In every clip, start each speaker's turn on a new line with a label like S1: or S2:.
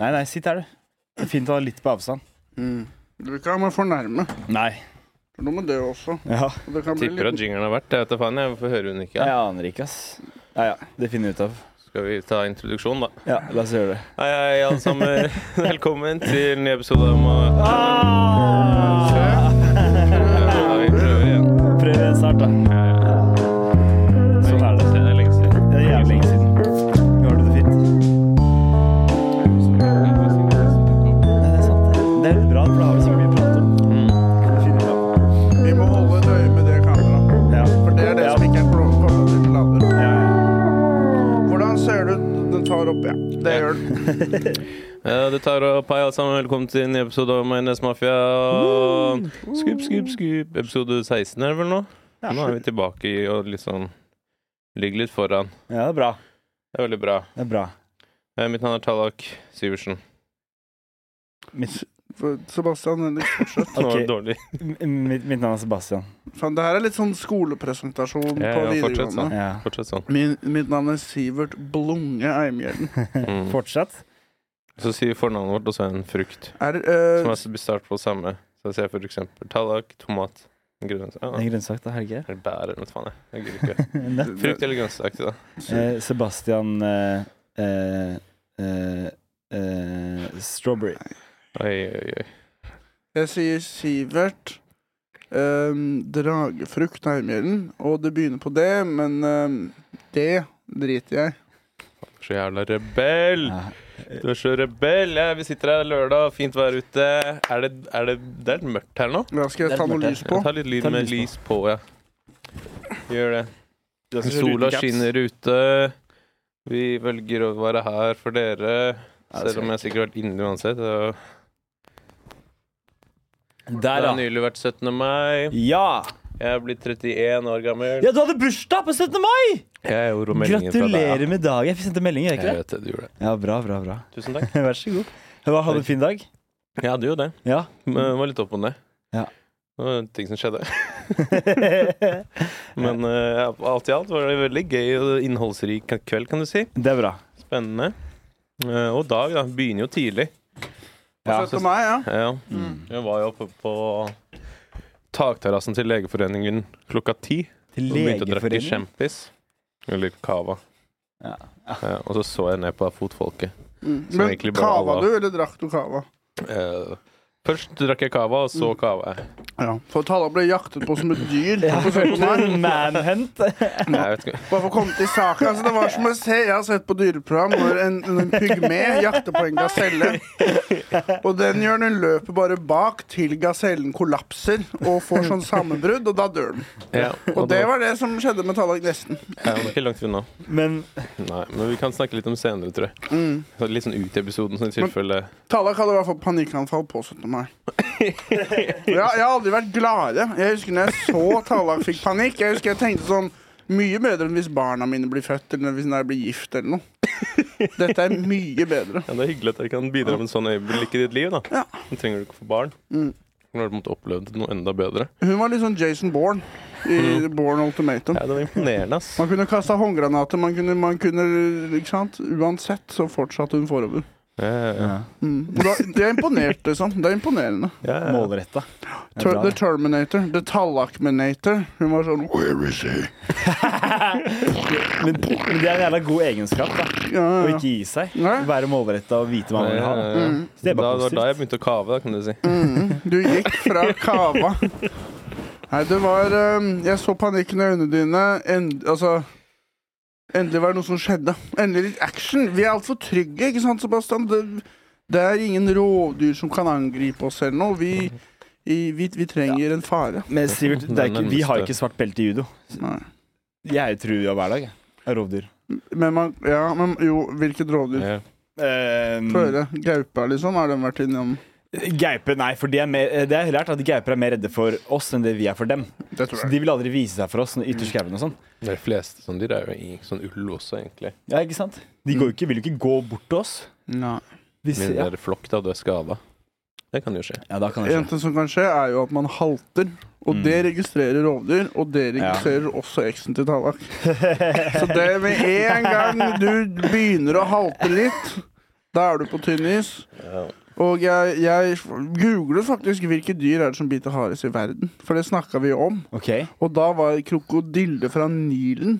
S1: Nei, nei, sitt her, du. Fint å ha litt på avstand.
S2: Mm. Du vil ikke ha meg for nærme.
S1: Nei.
S2: For nå må det også.
S1: Ja.
S2: Og det kan bli
S3: Tipper at
S2: litt...
S3: jingeren har vært. Jeg vet da faen, jeg får høre hun ikke.
S1: Jeg aner ikke, ass. Ja, ja. Det finner vi ut av.
S3: Skal vi ta introduksjon, da?
S1: Ja, la oss gjøre det.
S3: Hei, hei, alle sammen. Velkommen til en ny episode av Ma- Ja, vi prøver igjen.
S1: Prøv snart, da. Sånn er det.
S3: Det er lenge siden.
S1: Det er jævlig lenge siden. Gjør du det fint? Nei, det er sant. Det Det er bra, for da har vi sikkert mye å prate om.
S3: Mm.
S1: Det finner vi ut av.
S2: Vi må holde et øye med det kameraet.
S1: Ja.
S2: For det er det
S1: Ja.
S2: som ikke er blå- koblet til lader.
S1: Ja, ja.
S2: Hvordan ser det ut? Den tar opp, ja. Det
S3: Ja.
S2: gjør den.
S3: Ja, det tar opp. Hei, alle sammen. Velkommen til en ny episode av Majones Mafia. Skup, skup, skup. Episode 16 er det vel nå?
S1: Ja.
S3: Nå er vi tilbake i å liksom ligge litt foran.
S1: ja, det er bra.
S3: Det er veldig bra.
S1: Det er bra.
S3: Eh, Mitt navn er Tallak Syversen.
S1: Mitt,
S2: For Sebastian Henrik.
S3: Nå var
S1: Ok.
S3: det dårlig.
S1: m- mitt, mitt navn er Sebastian.
S2: Faen, det her er litt sånn skolepresentasjon
S3: Ja,
S2: på
S3: ja, fortsett
S2: videregående.
S3: sånn.
S1: Ja.
S3: Fortsett sånn.
S2: Min, mitt navn er Sivert Blunge Eimhjellen.
S3: Mm.
S1: Fortsatt.
S3: Så sier vi fornavnet vårt, og så en frukt.
S2: Er, eh,
S3: Som altså blir start på samme. Så jeg ser for eksempel tallak, tomat, grønnsak ah,
S1: En grønnsak, da, Helge.
S3: Eller bær, eller noe faen. jeg. Jeg gidder ikke.
S1: Nøtt.
S3: Frukt eller grønnsak, da.
S1: Eh, Sebastian eh, eh, eh, eh, Strawberry.
S3: Oi, oi, oi.
S2: jeg sier Sivert eh, Dragefrukt Eimhjellen, og det begynner på det, men eh, det driter jeg.
S3: Så jævla rebell!
S1: Ja.
S3: Du er så rebell! Ja, vi sitter her lørdag, fint vær ute. Er det, er det, det er litt mørkt her nå.
S2: Da
S1: Det
S2: skal jeg
S1: er
S2: ta noe
S1: mørkt her.
S2: lys på.
S3: Jeg tar litt lyd
S1: Ta litt
S3: med
S1: lys
S3: lys på, ja. Gjør det.
S1: Du
S3: Sola skinner ute. Vi velger å være her for dere. Selv om jeg sikkert har vært inne uansett. og Det
S1: Der, ja.
S3: har nylig vært 17. mai.
S1: Ja.
S3: Jeg er blitt 31 år gammel.
S1: ja, du hadde bursdag på 17. mai!
S3: Jeg gjorde meldingen fra deg.
S1: Gratulerer med dagen. Jeg fikk sendt en melding, gjør jeg
S3: Jeg
S1: ikke det?
S3: vet det, du gjorde det.
S1: Ja, bra, bra, bra.
S3: Tusen takk.
S1: Vær så god. Hva, hadde du en fin dag?
S3: Jeg hadde jo det.
S1: Ja.
S3: Men det var litt opp og ned.
S1: Mm. Ja.
S3: Det var ting som skjedde. Men eh, alt i alt var det veldig gøy og innholdsrik kveld, kan du si.
S1: Det er bra.
S3: Spennende. Eh, og dag, da. Begynner jo tidlig.
S1: Ja. Mm.
S2: Sett til meg, ja.
S3: Ja. Jeg var jo oppe på takterrassen til Legeforeningen klokka ti.
S1: Til
S3: Og begynte å drikke
S1: Legeforeningen.
S3: kjempis. Eller cava.
S1: Ja.
S3: Eh, og så så jeg ned på fotfolket.
S2: Mm.
S3: Som
S2: Men
S3: egentlig bare
S2: kava
S3: alle-
S2: du, eller drakk du kava?
S3: Eh, først drakk jeg cava, og så cava jeg.
S2: Ja. For Talla ble jaktet på som et dyr.
S1: Ja,
S2: på 17. mai.
S1: manhunt.
S3: Jeg vet ikke
S2: Bare for å komme til saken. Altså, det var som å se, Jeg har sett på dyreprogram hvor en, en pygme jakter på en gaselle. Og den gjør den løper bare bak til gasellen kollapser og får sånn sammenbrudd, og da dør den.
S3: Ja,
S2: Og det var det som skjedde med Tallak Nesten.
S3: ja, det var ikke langt unna.
S1: Men
S3: Nei, men vi kan snakke litt om senere, tror jeg.
S2: Mm.
S3: Så Litt sånn ut i episoden, sånn i tilfelle
S2: Tallak hadde i hvert fall panikkanfall på 17. mai. Ja, jeg har aldri vært gladere. Jeg husker når jeg så Tallak fikk panikk. Jeg husker jeg tenkte sånn Mye bedre enn hvis barna mine blir født, eller hvis jeg blir gift eller noe. Dette er mye bedre.
S3: Ja, Det er hyggelig at dere kan bidra med en sånn øyeblikk i ditt liv, da.
S2: Ja.
S3: Nå trenger du ikke få barn.
S2: Mm.
S3: Nå har du måttet oppleve noe enda bedre.
S2: Hun var litt sånn Jason Bourne i
S1: Mm.
S2: Bourne Ultimatum.
S3: Ja, det var imponerende, ass.
S2: Man kunne kasta håndgranater, man kunne, man kunne ikke sant? Uansett så fortsatte hun forover.
S3: Ja, ja, ja.
S1: ja.
S2: Mm. Og Da, det er imponert, liksom. Det er imponerende.
S3: Ja, ja.
S1: målretta. Det er
S2: Ter
S1: bra,
S2: the
S1: det.
S2: Terminator. The Tallakminator. Hun var sånn Where is he?
S1: Men, men det er en jævla god egenskap. da
S2: Ja,
S1: Å
S2: ja, ja.
S1: ikke gi seg.
S2: Nei.
S1: Være målretta og vite hva
S3: Ja,
S1: man vil
S3: ja,
S1: ha.
S3: ja.
S2: Mm.
S1: Så det er
S3: Da, det
S1: bare
S3: var da jeg
S1: positivt.
S3: begynte å kave, da, kan du si.
S2: Mm. Du gikk fra kava. Nei, det var ehm, Jeg så panikken i øynene dine. End, altså Endelig var det noe som skjedde. Endelig litt action. Vi er altfor trygge, ikke sant, Sebastian? Det, det er ingen rovdyr som kan angripe oss eller noe. Vi, i, vi, vi trenger en fare.
S1: Men Sivert, det er ikke, vi har ikke svart belte i judo.
S2: Nei.
S1: Jeg truer jo hver dag jeg, av rovdyr.
S2: Men man Ja, men jo, hvilket rovdyr?
S3: Ja.
S1: Ehm,
S2: Få høre. Gaupa, liksom? Har den vært innom?
S1: gaupe, nei, for de er mer, det er lært at gauper er mer redde for oss enn det vi er for dem.
S2: Det
S1: Så de vil aldri vise seg for oss når ytterst skauen og sånn.
S3: De fleste sånne dyr er jo i sånn ull også, egentlig.
S1: Ja, ikke sant? De går jo ikke, vil jo ikke gå bort til oss.
S2: Nei.
S1: Hvis,
S3: Min
S1: ja.
S3: der flokk, da, du er skada. Det kan jo skje.
S1: ja, da kan det
S2: En
S1: skje.
S2: ting som kan skje, er jo at man halter. Og
S1: Mm.
S2: det registrerer rovdyr, og det registrerer også eksen til Tallak. Så det med en gang du begynner å halte litt, Da er du på tynn is. Og jeg, jeg googlet faktisk hvilke dyr er det som biter hardest i verden. For det snakka vi jo om.
S1: Ok.
S2: Og da var krokodille fra Nilen.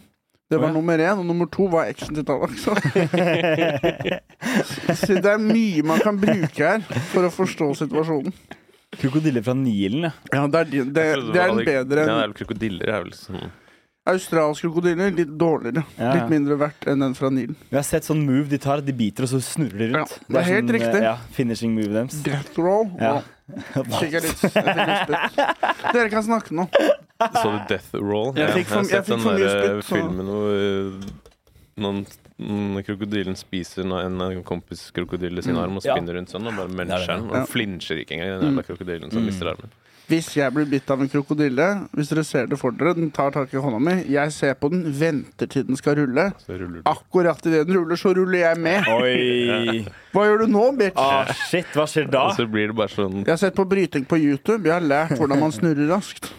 S2: Det
S1: Å,
S2: var
S1: ja.
S2: nummer én, og nummer to var action til Tallak. Så. så det er mye man kan bruke her for å forstå situasjonen.
S1: Krokodille fra Nilen, ja.
S2: Ja, Det er, de, det, det er en bedre
S3: Ja, det
S2: enn
S3: er vel krokodiller. Er vel sånn.
S2: australsk krokodille. Litt dårligere.
S1: Ja, ja.
S2: Litt mindre verdt enn den fra Nilen.
S1: Vi har sett sånn move de tar. De biter, og så snurrer de rundt.
S2: Ja, det er helt
S1: sånn,
S2: riktig.
S1: eh, Ja, finishing move deres.
S2: Death roll.
S1: Ja.
S2: Å, fikk jeg litt, jeg fikk litt spytt. Dere kan snakke nå.
S3: Så du Death Roll?
S2: Jeg fikk for- jeg
S3: har sett
S2: fikk
S3: den
S2: for mye
S3: der
S2: spytt, så-
S3: filmen hvor eh, noen, noen krokodilen spiser en- en kompis krokodille sin arm og
S1: Mm. Ja.
S3: spinner rundt sånn og
S1: Det er
S3: bare
S1: det.
S3: mennesker den. Og
S2: Ja. Mm.
S3: den flinsjer ikke engang, den jævla krokodilen som mister armen.
S2: Hvis jeg blir bitt av en krokodille, hvis dere ser det for dere, den tar tak i hånda mi, jeg ser på den, venter til den skal rulle.
S3: Så ruller den.
S2: Akkurat idet den ruller, så ruller jeg med.
S1: Oi!
S2: Hva gjør du nå, bitch?
S1: Ah, shit, hva skjer da?
S3: Og så blir det bare sånn
S2: Jeg har sett på bryting på YouTube. Jeg har lært hvordan man snurrer raskt.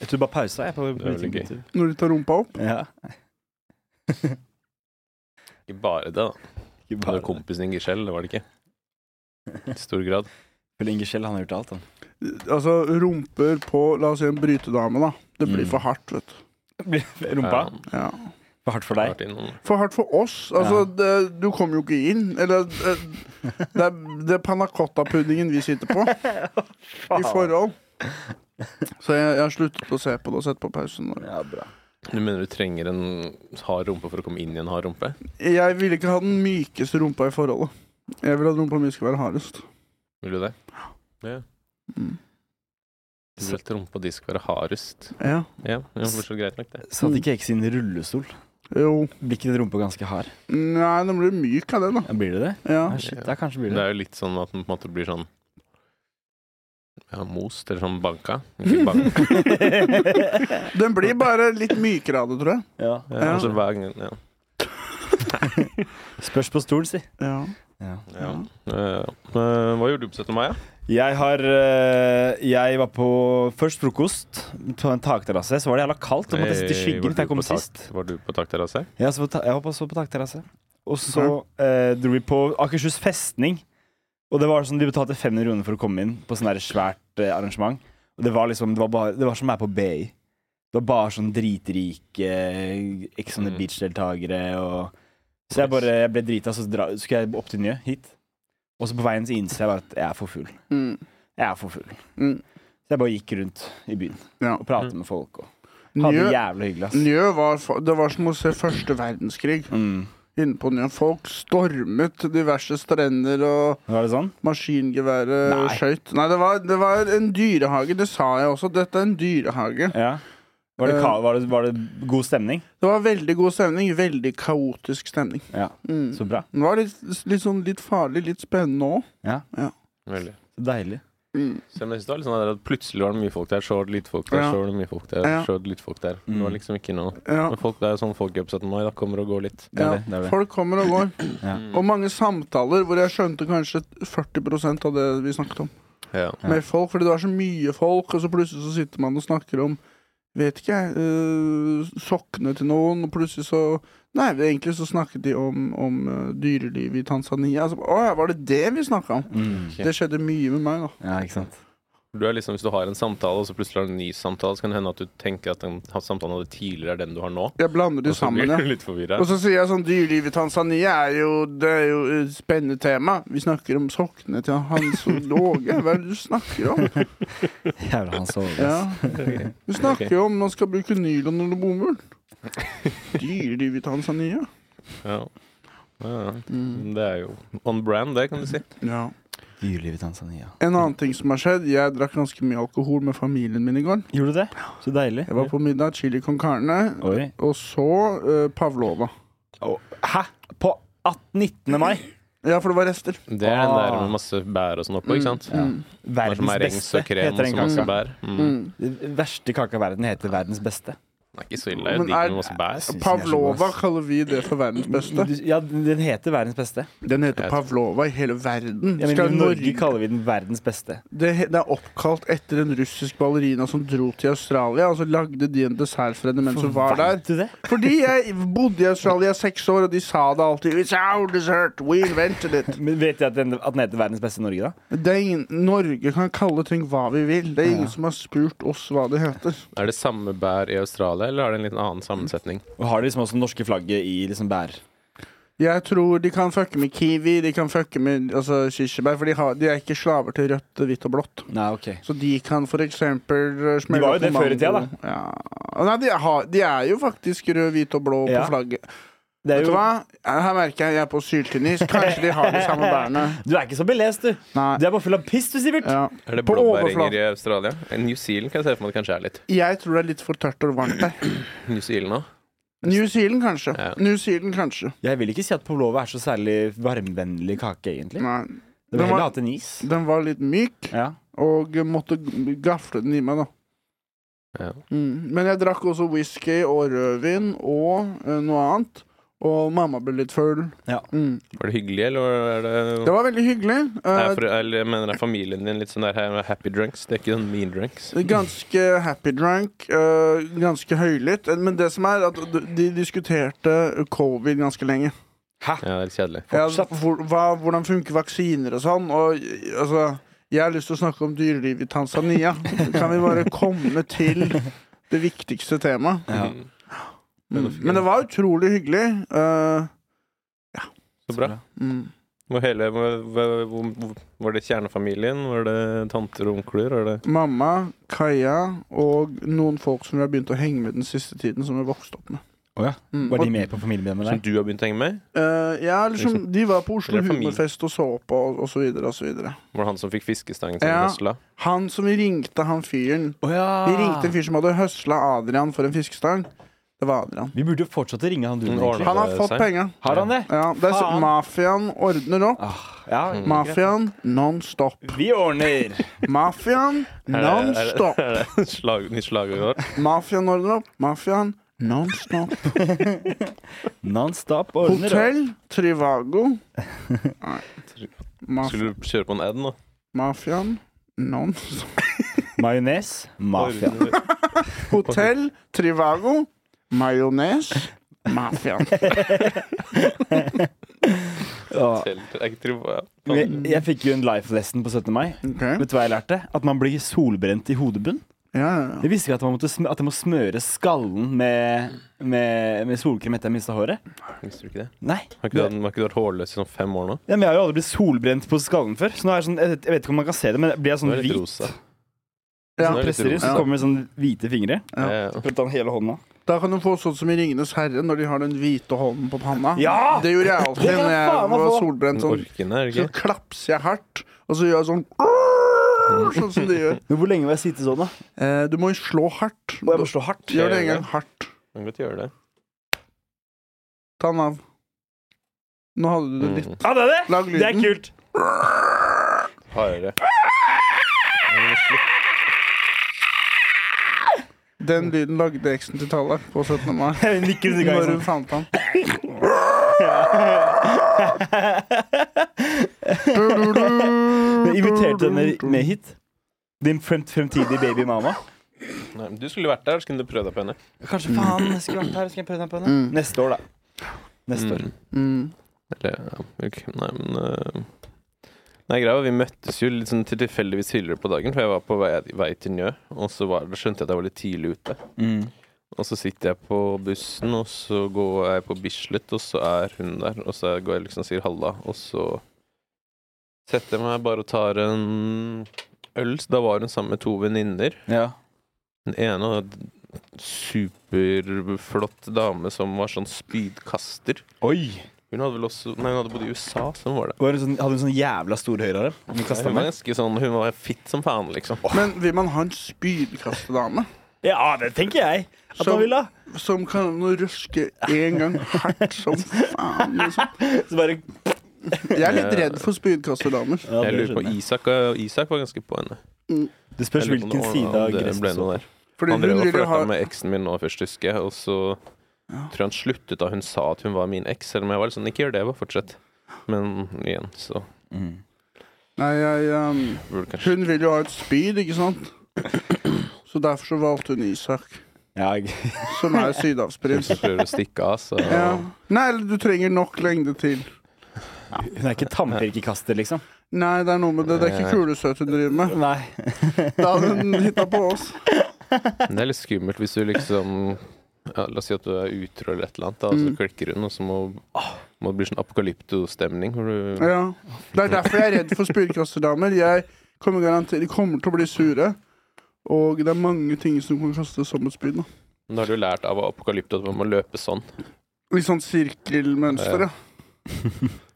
S1: Jeg tror bare pausa. Jeg, på,
S3: Det er veldig
S1: gøy.
S2: Når du tar rumpa opp.
S1: Ja.
S3: Ikke bare det, da.
S1: Ikke
S3: Det var
S1: bare
S3: kompisen din Giselle, det var det ikke? I stor grad.
S1: Vel, Inge Kjell, han har gjort alt, han.
S2: Altså rumper på La oss si en brytedame, da. Det blir
S1: Mm.
S2: for hardt, vet du.
S1: Rumpa?
S3: Ja,
S2: Ja.
S1: For hardt for
S3: det har
S1: deg?
S3: vært innom.
S2: For hardt for oss. Altså,
S1: Ja.
S2: det, du kommer jo ikke inn. Eller det, det er, det er pannacotta-puddingen vi sitter på. I forhold. Så jeg, jeg har sluttet å se på det og sett på pausen. nå.
S1: Ja, bra.
S3: Du mener du trenger en hard rumpe for å komme inn i en hard rumpe?
S2: Jeg ville ikke ha den mykeste rumpa i forholdet. Jeg vil at rumpa mi skal være hardest.
S3: Vil du det? Ja.
S2: Mm.
S3: Du vil at rumpa di skal være hardest?
S2: Ja.
S3: Ja, ja for så greit nok, det.
S1: Satt ikke X sin rullestol?
S2: Jo.
S1: Blir ikke den rumpa ganske hard?
S2: Nei, den blir myk av den, da.
S1: Ja, blir det det?
S2: Ja.
S1: Ja, shit, da kanskje blir
S3: Det
S1: det
S3: er jo litt sånn at den på en måte blir sånn ja, most, eller sånn banka. Ikke banka.
S2: Den blir bare litt mykere av det, tror jeg.
S1: ja.
S3: Ja, altså hver gang, ja.
S1: Spørs på stol, si.
S2: Ja.
S1: Ja.
S3: Ja. Eh, eh, hva gjorde du på 17. mai, da?
S1: Jeg har eh, Jeg var på først frokost på en takterrasse. Så var det jævla kaldt. Og måtte jeg sitte i
S3: Var
S1: skyggen, for
S3: du
S1: jeg kom
S3: på tak-
S1: sist.
S3: Var du på takterrasse?
S1: Jeg, så på ta jeg var på, så på takterrasse. Og så eh, dro vi på Akershus festning. Og det var sånn, De betalte 500 kroner for å komme inn på sånn der svært eh, arrangement. Og Det var liksom, det var, bare, det var som å være på BI. Det var bare sånn dritrike eh, Ex on the
S3: Mm.
S1: Beach-deltakere. og- Så jeg bare jeg ble drita, så dra, skulle jeg opp til Njø, hit. Og så på veien så innser jeg bare at jeg er for full.
S2: Mm.
S1: Jeg er for full.
S2: Mm.
S1: Så jeg bare gikk rundt i byen
S2: Ja.
S1: og pratet med folk. og Hadde
S2: Njø,
S1: det jævlig hyggelig. ass.
S2: Njø var, fa- det var som å se første verdenskrig
S1: Mm.
S2: inne på Njø. Folk stormet diverse strender, og
S1: Var det sånn?
S2: maskingeværet
S1: Nei.
S2: skøyt. Nei, det var, det var en dyrehage. Det sa jeg også. Dette er en dyrehage.
S1: Ja. Var det,
S2: Eh,
S1: ka var det, var det god stemning?
S2: Det var veldig god stemning. Veldig kaotisk stemning.
S1: Ja,
S2: Mm.
S1: så bra.
S2: Det var litt, litt, sånn, litt farlig, litt spennende òg.
S3: Veldig.
S1: Så deilig.
S2: Mm.
S3: Selv om jeg synes det var litt sånn der at plutselig var det mye folk der, så var det lite folk der,
S2: Ja.
S3: så var det mye folk der,
S2: Ja. Mm.
S3: så var det litt folk der. Det var liksom ikke noe
S2: Ja.
S3: Men folk, Det er jo sånn folk gjør på 17. mai, da kommer og går litt. Mm.
S1: Det er
S2: Ja,
S1: det. det, er det.
S2: Folk kommer og går.
S1: Ja.
S2: Og mange samtaler hvor jeg skjønte kanskje 40 av det vi snakket om.
S3: Ja.
S1: Ja.
S2: med folk, fordi det er så mye folk, og så plutselig så sitter man og snakker om Vet ikke jeg. eh, sokkene til noen, og plutselig så Nei, egentlig så snakket de om, om eh, dyrelivet i Tanzania. Altså, å ja, var det det vi snakka om?
S1: Mm.
S2: Det skjedde mye med meg, da.
S1: ja, ikke sant.
S3: Du er liksom, Hvis du har en samtale, og så plutselig har du en ny samtale, så kan det hende at du tenker at den samtalen du hadde tidligere, er den du har nå.
S2: Jeg blander de
S3: Og så
S2: sammen,
S3: blir
S2: ja.
S3: du litt forvirra.
S2: Og så sier jeg sånn Dyrelivet i Tanzania er jo Det er jo et spennende tema. Vi snakker om sokkene til Hans og Låge. Hva er det du snakker om?
S1: Jævla han sover. ass.
S2: Ja. Du snakker jo om man skal bruke nylon eller bomull. Dyrelivet i Tanzania.
S3: Ja. Ja, ja.
S1: Mm.
S3: Mm. Det er jo on brand, det, kan du si.
S2: Ja.
S1: Dyreliv i Tanzania.
S2: En annen ting som har skjedd, jeg drakk ganske mye alkohol med familien min i går.
S1: Gjorde du det? Så deilig.
S2: Jeg var på middag, chili con carne,
S1: Oi.
S2: og så eh, pavlova.
S1: Å, hæ? På 18-19. mai?
S2: Ja, for det var rester.
S3: Det er den der
S1: Ah.
S3: med masse bær og sånn oppå, ikke sant?
S1: Ja.
S3: Det er som
S1: Verdens
S3: er rengs
S1: beste,
S3: og krem
S1: heter
S3: og
S1: den
S3: så masse
S1: kaka.
S3: bær. Mm.
S2: Mm.
S1: Den verste kaka i verden heter verdens beste.
S3: Den er ikke så ille. Jeg
S2: Men
S3: digger
S2: er-
S3: med masse bær.
S1: Synes jeg er så god,
S2: Pavlova
S1: ass. Mm.
S2: kaller vi det for verdens beste.
S1: Du- Ja, den heter verdens beste.
S2: Den heter
S3: Jeg-
S2: Pavlova i hele verden.
S1: Ja, men
S2: Skal
S1: I Norge
S2: Norge-
S1: kaller vi den verdens beste.
S2: det, he- det er oppkalt etter en russisk ballerina som dro til Australia. Og så lagde de en dessert for henne mens hun var der.
S1: Vet du det?
S2: Fordi jeg bodde i Australia i seks år, og de sa det alltid. It's our dessert, we invented it
S1: Men Vet de at den, at den heter verdens beste Norge, da?
S2: det er ingen, Norge kan kalle ting hva vi vil. Det er ingen
S1: Ja.
S2: som har spurt oss hva det heter.
S3: Er det samme bær i Australia, eller har det en litt annen sammensetning?
S1: Og har de liksom også det norske flagget i liksom bær?
S2: Jeg tror de kan fucke med kiwi, de kan fucke med altså, kirsebær, for de, har, de er ikke slaver til rødt, hvitt og blått.
S1: Nei, ok.
S2: Så de kan for eksempel eh, smelle
S1: De var jo
S2: opp
S1: det
S2: en
S1: før i tida,
S2: mango. Ja. Nei, de, har, de er jo faktisk rød, hvit og blå
S1: Ja.
S2: på flagget.
S1: Det er
S2: Vet du
S1: jo,
S2: hva? Eh, Her merker jeg jeg er på syltynnis. Kanskje de har de samme bærene.
S1: du er ikke så belest, du.
S2: Nei.
S1: Du er bare full av piss, du, Sivert.
S2: Ja.
S3: Er det
S2: På
S3: blåbæringer
S2: overflaten.
S3: i Australia? Eh, New Zealand kan jeg se for meg at det kanskje er litt.
S2: Jeg tror det er litt for tørt og varmt der.
S3: New Zealand også.
S2: New Zealand, kanskje.
S3: Ja.
S2: New Zealand, kanskje.
S1: Jeg vil ikke si at pavlova er så særlig varmvennlig kake, egentlig.
S2: Nei.
S1: Du ville
S2: Den var-
S1: heller hatt en is.
S2: Den var litt myk,
S1: Ja.
S2: og måtte g- gafle den i meg, da.
S3: Ja.
S2: Mm. Men jeg drakk også whisky og rødvin og eh, noe annet. Og mamma ble litt full.
S1: Ja.
S2: Mm.
S3: Var det hyggelig, eller er det
S2: Det var veldig hyggelig. Eh,
S3: Er for, eller, jeg mener er familien din litt sånn der her med happy drunks? Det er ikke sånn mean drunks?
S2: Ganske happy drunk, eh, ganske høylytt. Eh, Men det som er at d- de diskuterte covid ganske lenge.
S3: Ja, det er litt kjedelig.
S2: Ja,
S1: Fortsatt.
S2: hvor, hva, hvordan funker vaksiner og sånn. Og eh, altså Jeg har lyst til å snakke om dyreliv i Tanzania. Kan vi bare komme til det viktigste temaet?
S1: Ja.
S2: Mm. Men det var utrolig hyggelig. eh,
S3: Så bra.
S2: mm.
S3: Hvor hele, hvor, hvor, hvor, var det kjernefamilien? Var det tanter og onkler? Er det
S2: Mamma, Kaja og noen folk som vi har begynt å henge med den siste tiden, som vi har vokst opp med.
S1: Å ja.
S2: Mm.
S1: Var de
S2: Og,
S1: med på familiemiddagen med
S3: som
S1: deg?
S3: du har begynt å henge med?
S2: eh, ja, liksom, de var på Oslo
S3: Eller familie.
S2: Humorfest og så på, og, og så videre og så videre.
S3: Var det han som fikk fiskestangen til
S2: Ja.
S3: ja. høsla?
S2: Han som vi ringte, han fyren
S1: Å ja.
S2: Vi ringte en fyr som hadde høsla Adrian for en fiskestang. Det var Adrian.
S1: Vi burde jo fortsatt å ringe han duden,
S3: Mm,
S1: egentlig.
S2: Han har
S3: Det er
S2: fått
S3: seg.
S2: penga.
S1: Har han det?
S2: Ja, det er så-
S1: Faen.
S2: Mafiaen ordner opp.
S1: Ah, ja,
S3: Mm.
S2: Mafiaen non stop.
S1: Vi ordner.
S2: Mafiaen non stop.
S3: Slag, nytt slagord.
S2: Mafiaen ordner opp. Mafiaen non stop.
S1: Non-stop ordner.
S2: Hotell Trivago. Nei. Maf
S3: Skulle du kjøre på en ad nå?
S2: Mafiaen non
S1: Majones. Mafia.
S2: Hotell Trivago. Majones. Mafiaen.
S1: Å,
S3: Jeg tror, ja.
S1: Jeg, jeg fikk jo en life lesson på 17. mai.
S2: Ok.
S1: Vet du hva jeg lærte? At man blir solbrent i hodebunn.
S2: Ja, ja, ja.
S1: Jeg visste ikke at man, måtte sm at jeg må smøre skallen med, med, med solkrem etter jeg mista håret.
S3: Visste du ikke det?
S1: Nei.
S3: Har ikke du, hatt- har ikke du vært hårløs i sånn fem år nå?
S1: Ja, men jeg har jo aldri blitt solbrent på skallen før. Så nå er jeg sånn, jeg vet jeg vet ikke om man kan se det, men blir jeg
S3: Du
S1: sånn
S3: er litt
S1: hvit?
S3: rosa.
S2: Ja.
S1: Når jeg presser i, så
S2: rosa.
S1: kommer det sånn hvite fingre.
S2: Ja.
S3: Ja, ja.
S1: Prøvde han hele hånda.
S2: Da kan du få sånn som i Ringenes herre, når de har den hvite hånden på panna.
S1: Ja!
S2: Ah, Det gjorde jeg alltid
S1: Det kan
S2: når jeg
S1: faen meg
S2: var
S1: få.
S2: solbrent. Sånn.
S3: Orkene, er det
S2: Så
S3: ikke?
S2: klapser jeg hardt, og så gjør jeg sånn Sånn som de gjør.
S1: Men hvor lenge var jeg sitte sånn, da?
S2: Eh, du må jo slå hardt.
S1: Og jeg må slå hardt.
S2: Gjør det en gang hardt.
S3: Man kan godt gjøre det.
S2: Ta den av. Nå hadde du det litt.
S3: Mm.
S1: Ja, det er det!
S2: Lag
S1: Det er
S2: lyden.
S1: kult.
S3: Hardere.
S2: Den lyden lagde eksen til Tallak på 17. mai.
S1: Jeg nikker en gang
S2: Når hun
S1: sånn.
S2: fant han.
S1: Jeg inviterte henne med hit. Din frem fremtidige babymama.
S3: Nei, men du skulle vært der, så kunne du prøvd deg på henne.
S1: Kanskje faen jeg skulle vært her, skal jeg prøve den på henne?
S2: Mm.
S1: Neste år, da. Neste år.
S3: Mm.
S2: Mm.
S3: Eller, ja, ok, nei, men øh, Nei, greia var, Vi møttes jo litt sånn til- tilfeldigvis tidligere på dagen, for jeg var på vei, vei til Njø. Og så var, da skjønte jeg at jeg var litt tidlig ute.
S1: Mm.
S3: Og så sitter jeg på bussen, og så går jeg på Bislett, og så er hun der. Og så går jeg liksom og sier halla, og så setter jeg meg bare og tar en øl. Så da var hun sammen med to venninner.
S1: Ja.
S3: Den ene var en superflott dame som var sånn spydkaster.
S1: Oi!
S3: Hun hadde vel også Nei, hun hadde bodd i USA, så hun var det.
S1: Var hun sånn, hadde hun sånn jævla stor høyrearm? Hun
S3: Nei,
S1: kastet
S3: Hun var
S1: meg?
S3: ganske sånn Hun var fit som faen, liksom.
S2: Men vil man ha en spydkastedame
S1: Ja, det tenker jeg. At
S2: Så-
S1: hun vil, da.
S2: som kan røske en gang hardt som faen? Liksom.
S1: Så bare
S2: Jeg er litt redd for spydkastedamer.
S1: ja,
S3: Jeg lurer på Isak, øh, Isak var ganske på henne.
S1: Det spørs
S3: Jeg lurer på om
S1: hvilken
S3: det-
S1: side av
S3: om det
S1: gresset
S3: ble noe
S1: så.
S3: der.
S2: Fordi
S3: Han drev
S2: hun
S3: og
S2: ville jo
S3: flørta
S2: ha
S3: med eksen min nå først, husker jeg. Og så
S2: Ja.
S3: tror jeg han sluttet da hun sa at hun var min eks, selv om jeg var litt sånn Ikke gjør det, bare fortsett. Men igjen, så
S1: Mm.
S2: Nei, jeg um,
S3: burde kanskje
S2: Hun vil jo ha et spyd, ikke sant? Så derfor så valgte hun Isak,
S1: Ja, jeg,
S2: som er sydhavsprins.
S3: Hvis du prøver å stikke av, så
S2: Ja. Nei, eller du trenger nok lengde til.
S1: hun er ikke tannpirkekaster, liksom.
S2: Nei, det er noe med det. Det er ikke kulesøt hun driver med.
S1: Nei.
S2: Da hadde hun hitta på oss.
S3: Det er litt skummelt hvis du liksom ja, La oss si at du er utro eller et eller annet, da, og så
S2: Mm.
S3: klikker hun, og så må, må det bli sånn apokalypto-stemning. Hvor du
S2: Ja. Det er derfor jeg er redd for spydkasterdamer. Jeg kommer garantert, De kommer til å bli sure. Og det er mange ting som kan kastes som et spyd. da.
S3: Men Da har du lært av apokalypto at man må løpe sånn.
S2: Litt sånn sirkelmønster, ja.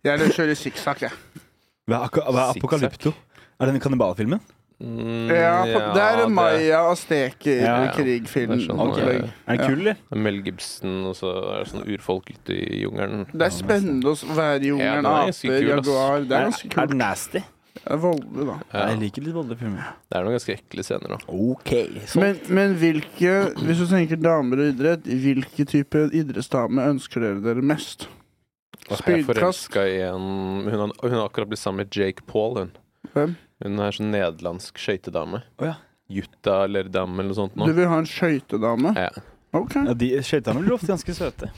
S2: Jeg kjører sikksakk, jeg.
S1: Hva er, akko- hva er
S3: Zigzag.
S1: Apokalypto? Er det den kannibalfilmen?
S3: Mm,
S2: Ja, på- det er en Maya
S1: Ja, ja.
S2: Asteker-krigfilm.
S3: Det er sånn,
S2: opplegg.
S3: eh,
S1: Er den kul, eller?
S3: Mel Gibson, og så er det sånn urfolk ute i jungelen.
S2: Det er spennende å være
S3: Ja,
S2: jungelen.
S3: den er ganske
S2: Aper,
S3: kul, ass.
S2: jaguar. Det er ganske
S1: Er
S2: kult.
S1: den nasty?
S2: Det er voldelig, da.
S3: Ja,
S1: Jeg liker litt voldelige filmer.
S3: det er noen ganske ekle scener òg.
S1: OK.
S2: Men, men hvilke, hvis du tenker damer og idrett, hvilke type idrettsdame ønsker dere dere mest?
S3: Jeg er
S2: Spydkast.
S3: forelska i en hun har, hun har akkurat blitt sammen med Jake Paul, hun.
S2: Hvem?
S3: Hun er sånn nederlandsk skøytedame.
S1: Å ja.
S3: Jutta Lerdam eller noe sånt
S2: Du
S3: nå.
S2: vil ha en skøytedame?
S3: Ja.
S2: OK.
S1: Ja, de Skøytene blir ofte ganske søte.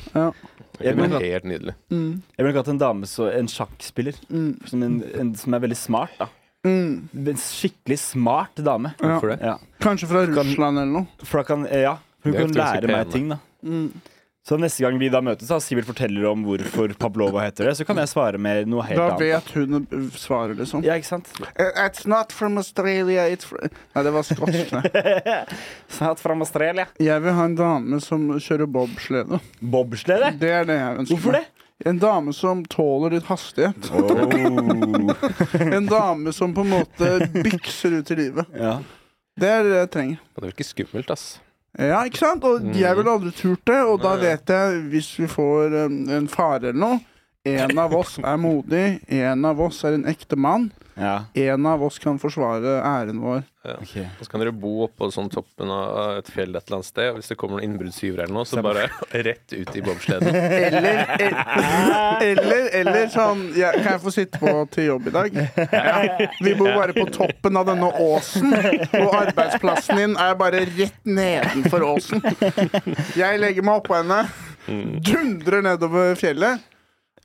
S1: Jeg
S3: Hun
S1: mener
S3: er helt nydelig.
S2: Mm,
S1: Jeg ville ikke hatt en dame så, en sjakkspiller
S2: mm,
S1: som, en, en, som er veldig smart. da
S2: mm.
S1: En skikkelig smart dame.
S2: Ja.
S3: Hvorfor det?
S1: Ja.
S2: Kanskje fra
S1: Kan-
S2: Russland eller noe.
S1: For da kan eh, Ja, hun
S3: Det er
S1: kan
S3: ganske
S1: lære meg
S3: pene.
S1: ting, da.
S2: Mm.
S1: Så neste gang vi da møtes, da, Sivert forteller om hvorfor Pavlova heter det, så kan jeg svare med noe helt
S2: Da
S1: annet.
S2: vet hun eh, svaret, liksom. Eh,
S1: Ja, ikke sant?
S2: It's not from Australia, it's from Nei, det var skotsk, det.
S1: Snart fra Australia.
S2: Jeg vil ha en dame som kjører bobslede.
S1: Bobslede?
S2: Det er det jeg ønsker.
S1: Hvorfor det?
S2: meg. En dame som tåler litt hastighet.
S1: Oh.
S2: En dame som på en måte bykser ut i livet.
S1: Ja.
S2: Det er det jeg trenger.
S3: Det virker skummelt, ass.
S2: Ja, ikke sant?
S1: Mm.
S2: Og jeg ville aldri turt det, og da
S3: Nei.
S2: vet jeg, hvis vi får um, en fare eller noe En av oss er modig, en av oss er en ekte mann,
S1: ja.
S2: en av oss kan forsvare æren vår.
S1: Ok.
S3: Og så kan dere bo oppå sånn toppen av et fjell et eller annet sted, og hvis det kommer noen innbruddstyver eller noe, så bare rett ut i bobsleden.
S2: Eller, el- eller, eller sånn ja, Kan jeg få sitte på til jobb i dag? Ja. Vi bor bare på toppen av denne åsen, og arbeidsplassen din er bare rett nedenfor åsen. Jeg legger meg oppå henne, dundrer nedover fjellet.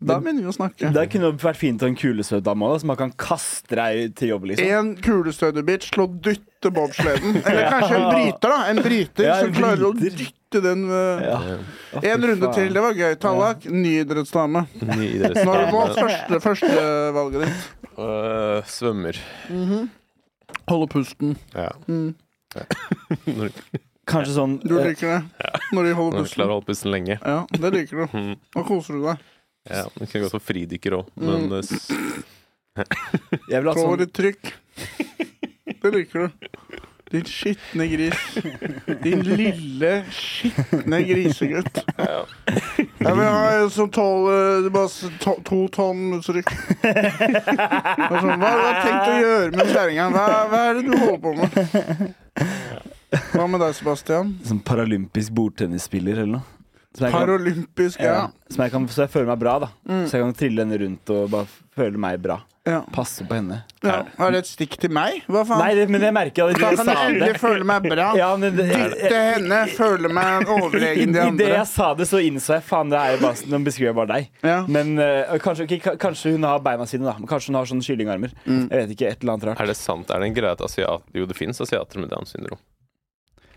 S2: Da begynner vi å snakke.
S1: Det kunne vært fint å ha en kulesøt dame òg, så man kan kaste deg til jobb, liksom.
S2: En kulestøtebitch til å dytte bobsleden. Eller kanskje en bryter, da. En bryter
S1: Ja, en
S2: som klarer å
S1: bryter.
S2: dytte den. eh,
S1: Ja. Å, fy
S2: En runde
S1: faen.
S2: til. Det var gøy. Tallak, ny idrettsdame.
S3: Ny
S2: Nå har du
S3: idrettsdame.
S2: valgt første, første valget ditt.
S3: Øh, svømmer.
S1: Mhm.
S2: Holde pusten.
S3: Ja.
S2: Mm.
S3: Når
S1: Kanskje sånn
S2: Du
S1: eh,
S2: liker det. Når de
S3: når
S2: holder
S3: du klarer
S2: pusten.
S3: å holde pusten lenge.
S2: Ja, det liker du.
S3: Mm.
S2: Nå koser du deg.
S3: Ja, Du kan gå som fridykker òg, men
S2: Mm.
S3: øh, s-
S1: Jeg ville hatt
S2: Tåler
S1: sånn
S2: litt trykk. Det liker du. Din skitne gris. Din lille, skitne grisegutt.
S3: ja.
S2: Jeg vil ha en som tåler bare s- to, to tonn trykk. Det er Sånn, hva har du tenkt å gjøre med kjerringa? Hva, hva er det du holder på med? Hva med deg, Sebastian?
S1: Sånn paralympisk bordtennisspiller eller noe. Som jeg, kan,
S2: Paralympisk,
S1: ja,
S2: ja.
S1: Eh, som jeg kan, så jeg føler meg bra, da.
S2: Mm.
S1: Så jeg kan trille henne rundt og bare føle meg bra.
S2: ja.
S1: Passe på henne.
S2: ja. Er det et stikk til meg? Hva faen?
S1: Nei, det, men jeg merker at
S2: Da
S1: jeg
S2: kan jeg
S1: sa det.
S2: endelig føle meg bra.
S1: Ja, men det, jeg,
S2: Dytte henne, føle meg
S1: i
S2: overlegen de
S1: det
S2: andre.
S1: jeg sa det, så innså jeg faen, det er jo bare, nå beskriver jeg bare deg.
S2: Ja.
S1: Men eh, kanskje, ok, ka- kanskje hun har beina sine, da. Men Kanskje hun har sånne kyllingarmer.
S2: Mm.
S1: Jeg vet ikke, et eller annet rart.
S3: Er det sant? Er det en greie at asiat... Jo, det fins asiater med Downs syndrom.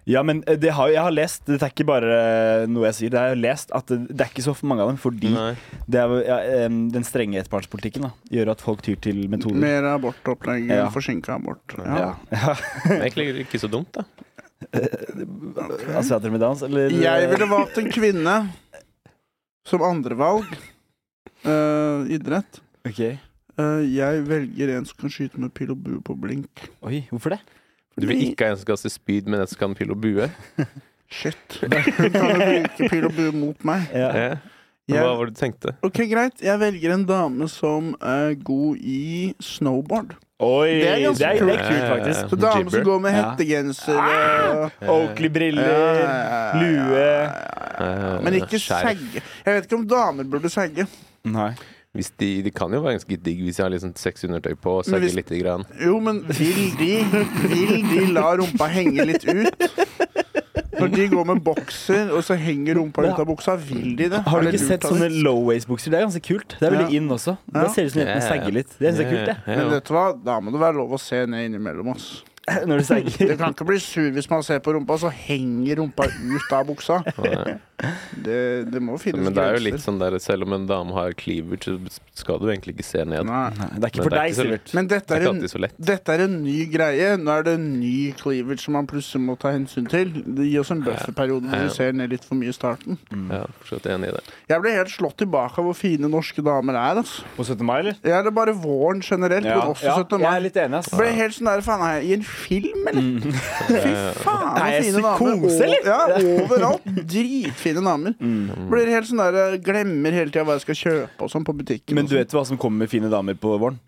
S1: Ja, men eh, det har, jeg har lest, det er ikke bare eh, noe jeg sier, det er jo lest at det, det er ikke så mange av dem, fordi
S3: Nei.
S1: det er, jo, ja, eh, den strenge ettbarnspolitikken da, gjør at folk tyr til metoder.
S2: Mer abortopplegg,
S1: Mm. Ja.
S2: forsinka abort.
S1: ja.
S2: Ja.
S1: Ja.
S3: Det er Egentlig ikke så dumt, da.
S1: Asiater altså, med dans, eller
S2: Jeg ville valgt en kvinne som andrevalg. Uh, idrett.
S1: Ok.
S2: Eh, jeg velger en som kan skyte med pil og bue på blink.
S1: Oi, hvorfor det?
S3: Du vil ikke ha en som kaster spyd, men en som kan pil og bue?
S2: Shit. Hun kan jo bruke pil og bue mot meg.
S1: Ja.
S3: Ja. Hva
S2: Jeg,
S3: var det du tenkte?
S2: ok, Greit, jeg velger en dame som er god i snowboard.
S1: Oi, det
S2: Det er
S1: er,
S2: ganske
S1: det er,
S2: kult.
S1: kult, faktisk.
S2: Så damer som
S3: Jibber.
S2: går med
S1: Ja.
S2: hettegenser og
S1: Oakley-briller, lue
S3: Eh,
S2: Men ikke
S3: skjerf.
S2: sagge. Jeg vet ikke om damer burde sagge.
S1: Nei.
S3: Hvis de, de kan jo være ganske digg hvis de har liksom sexy undertøy på og
S2: Men
S3: sagger
S2: hvis-
S3: lite grann.
S2: Jo, men vil de, vil de la rumpa henge litt ut? Når de går med bokser, og så henger rumpa ut av buksa, vil de det?
S1: Har du
S2: Er det
S1: ikke
S2: lurt
S1: sett
S2: av
S1: sånne
S2: dem?
S1: low-waist-bukser? Det er ganske kult. Det er veldig
S2: Ja.
S1: in også.
S2: Ja.
S1: Det ser ut som jentene
S3: Ja, ja.
S1: sagger litt. Det synes jeg er kult, det.
S3: Ja,
S2: Men
S3: ja.
S2: vet du hva, da må det være lov å se ned innimellom. ass.
S1: Når de
S2: Du
S1: sagger.
S2: kan ikke bli sur hvis man ser på rumpa, så henger rumpa ut av buksa. Det, det må finnes
S3: eh, Men det er jo litt sånn der, selv om en dame har cleavage, så skal du egentlig ikke se ned.
S2: Nei.
S1: Det er ikke
S3: Men
S1: for
S3: det er
S1: deg,
S3: ikke så
S1: Sivert.
S2: Men
S3: Det
S2: dette
S3: er
S2: er
S3: ikke
S2: en
S3: alltid så lett.
S2: Dette er en ny greie. Nå er det en ny cleavage som man plutselig må ta hensyn til. Det gir oss en bufferperiode hvor
S3: Ja.
S2: vi ser ned litt for mye i starten.
S1: Mm.
S3: Ja, fortsatt enig i det.
S2: Jeg ble helt slått tilbake av hvor fine norske damer er. Altså.
S1: På 17. mai, eller?
S2: Ja, det er bare våren generelt, men også
S1: jeg er
S2: 17. mai.
S1: litt enig, ass.
S2: Jeg ble helt sånn der, faen, er jeg i en film, eller? Fy faen,
S1: Er
S2: så
S1: jeg
S2: fine damer.
S1: psykose, eller? Mm.
S2: Og- Ja, overalt. Dritfine damer. Blir helt sånn der, Glemmer hele tida hva jeg skal kjøpe og sånn på butikken.
S1: Men
S2: og
S1: du
S2: sånn.
S1: vet hva som kommer med fine damer på våren?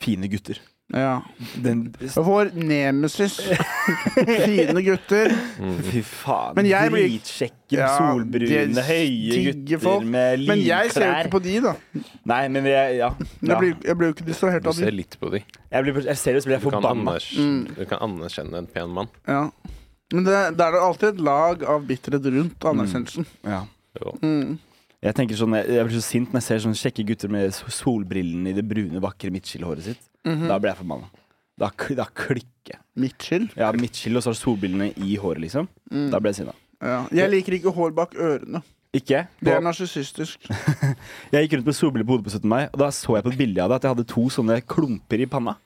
S1: Fine gutter.
S2: Ja.
S1: Den,
S2: Vår nemesis. Fine gutter.
S1: fy faen.
S2: Men jeg blir-
S1: Dritsjekken,
S2: Ja, det
S1: solbrune, høye
S2: digge
S1: gutter
S2: folk.
S1: med
S2: Men jeg ser jo
S1: linklær.
S2: ikke på de, da.
S1: Nei, men jeg, ja.
S2: Jeg
S1: ja.
S2: blir, jeg blir jo ikke distrahert
S3: Du
S2: av de.
S3: ser litt på de.
S1: Jeg blir jeg ser ut som jeg
S3: Du
S1: blir
S3: kan,
S1: forbanna.
S3: anerk- du kan anerkjenne en pen mann.
S2: Ja. Men det, det er det alltid et lag av bitterhet
S1: Mm.
S2: rundt anerkjennelsen.
S1: Ja.
S3: Jo.
S2: Mm.
S1: Jeg tenker sånn, jeg, jeg blir så sint når jeg ser sånne kjekke gutter med so- solbrillene i det brune, vakre midtskillhåret sitt.
S2: Mhm.
S1: Da blir jeg forbanna. Da, k- da klikker jeg.
S2: Mitchell.
S1: Jeg har midtskill, og så har jeg solbrillene i håret, liksom. Da blir jeg sinna.
S2: Ja. Jeg liker ikke hår bak ørene.
S1: Ikke?
S2: Det er
S1: På,
S2: narsissistisk.
S1: jeg gikk rundt med solbriller på hodet på 17. mai, og da så jeg på et bilde av det at jeg hadde to sånne klumper i panna.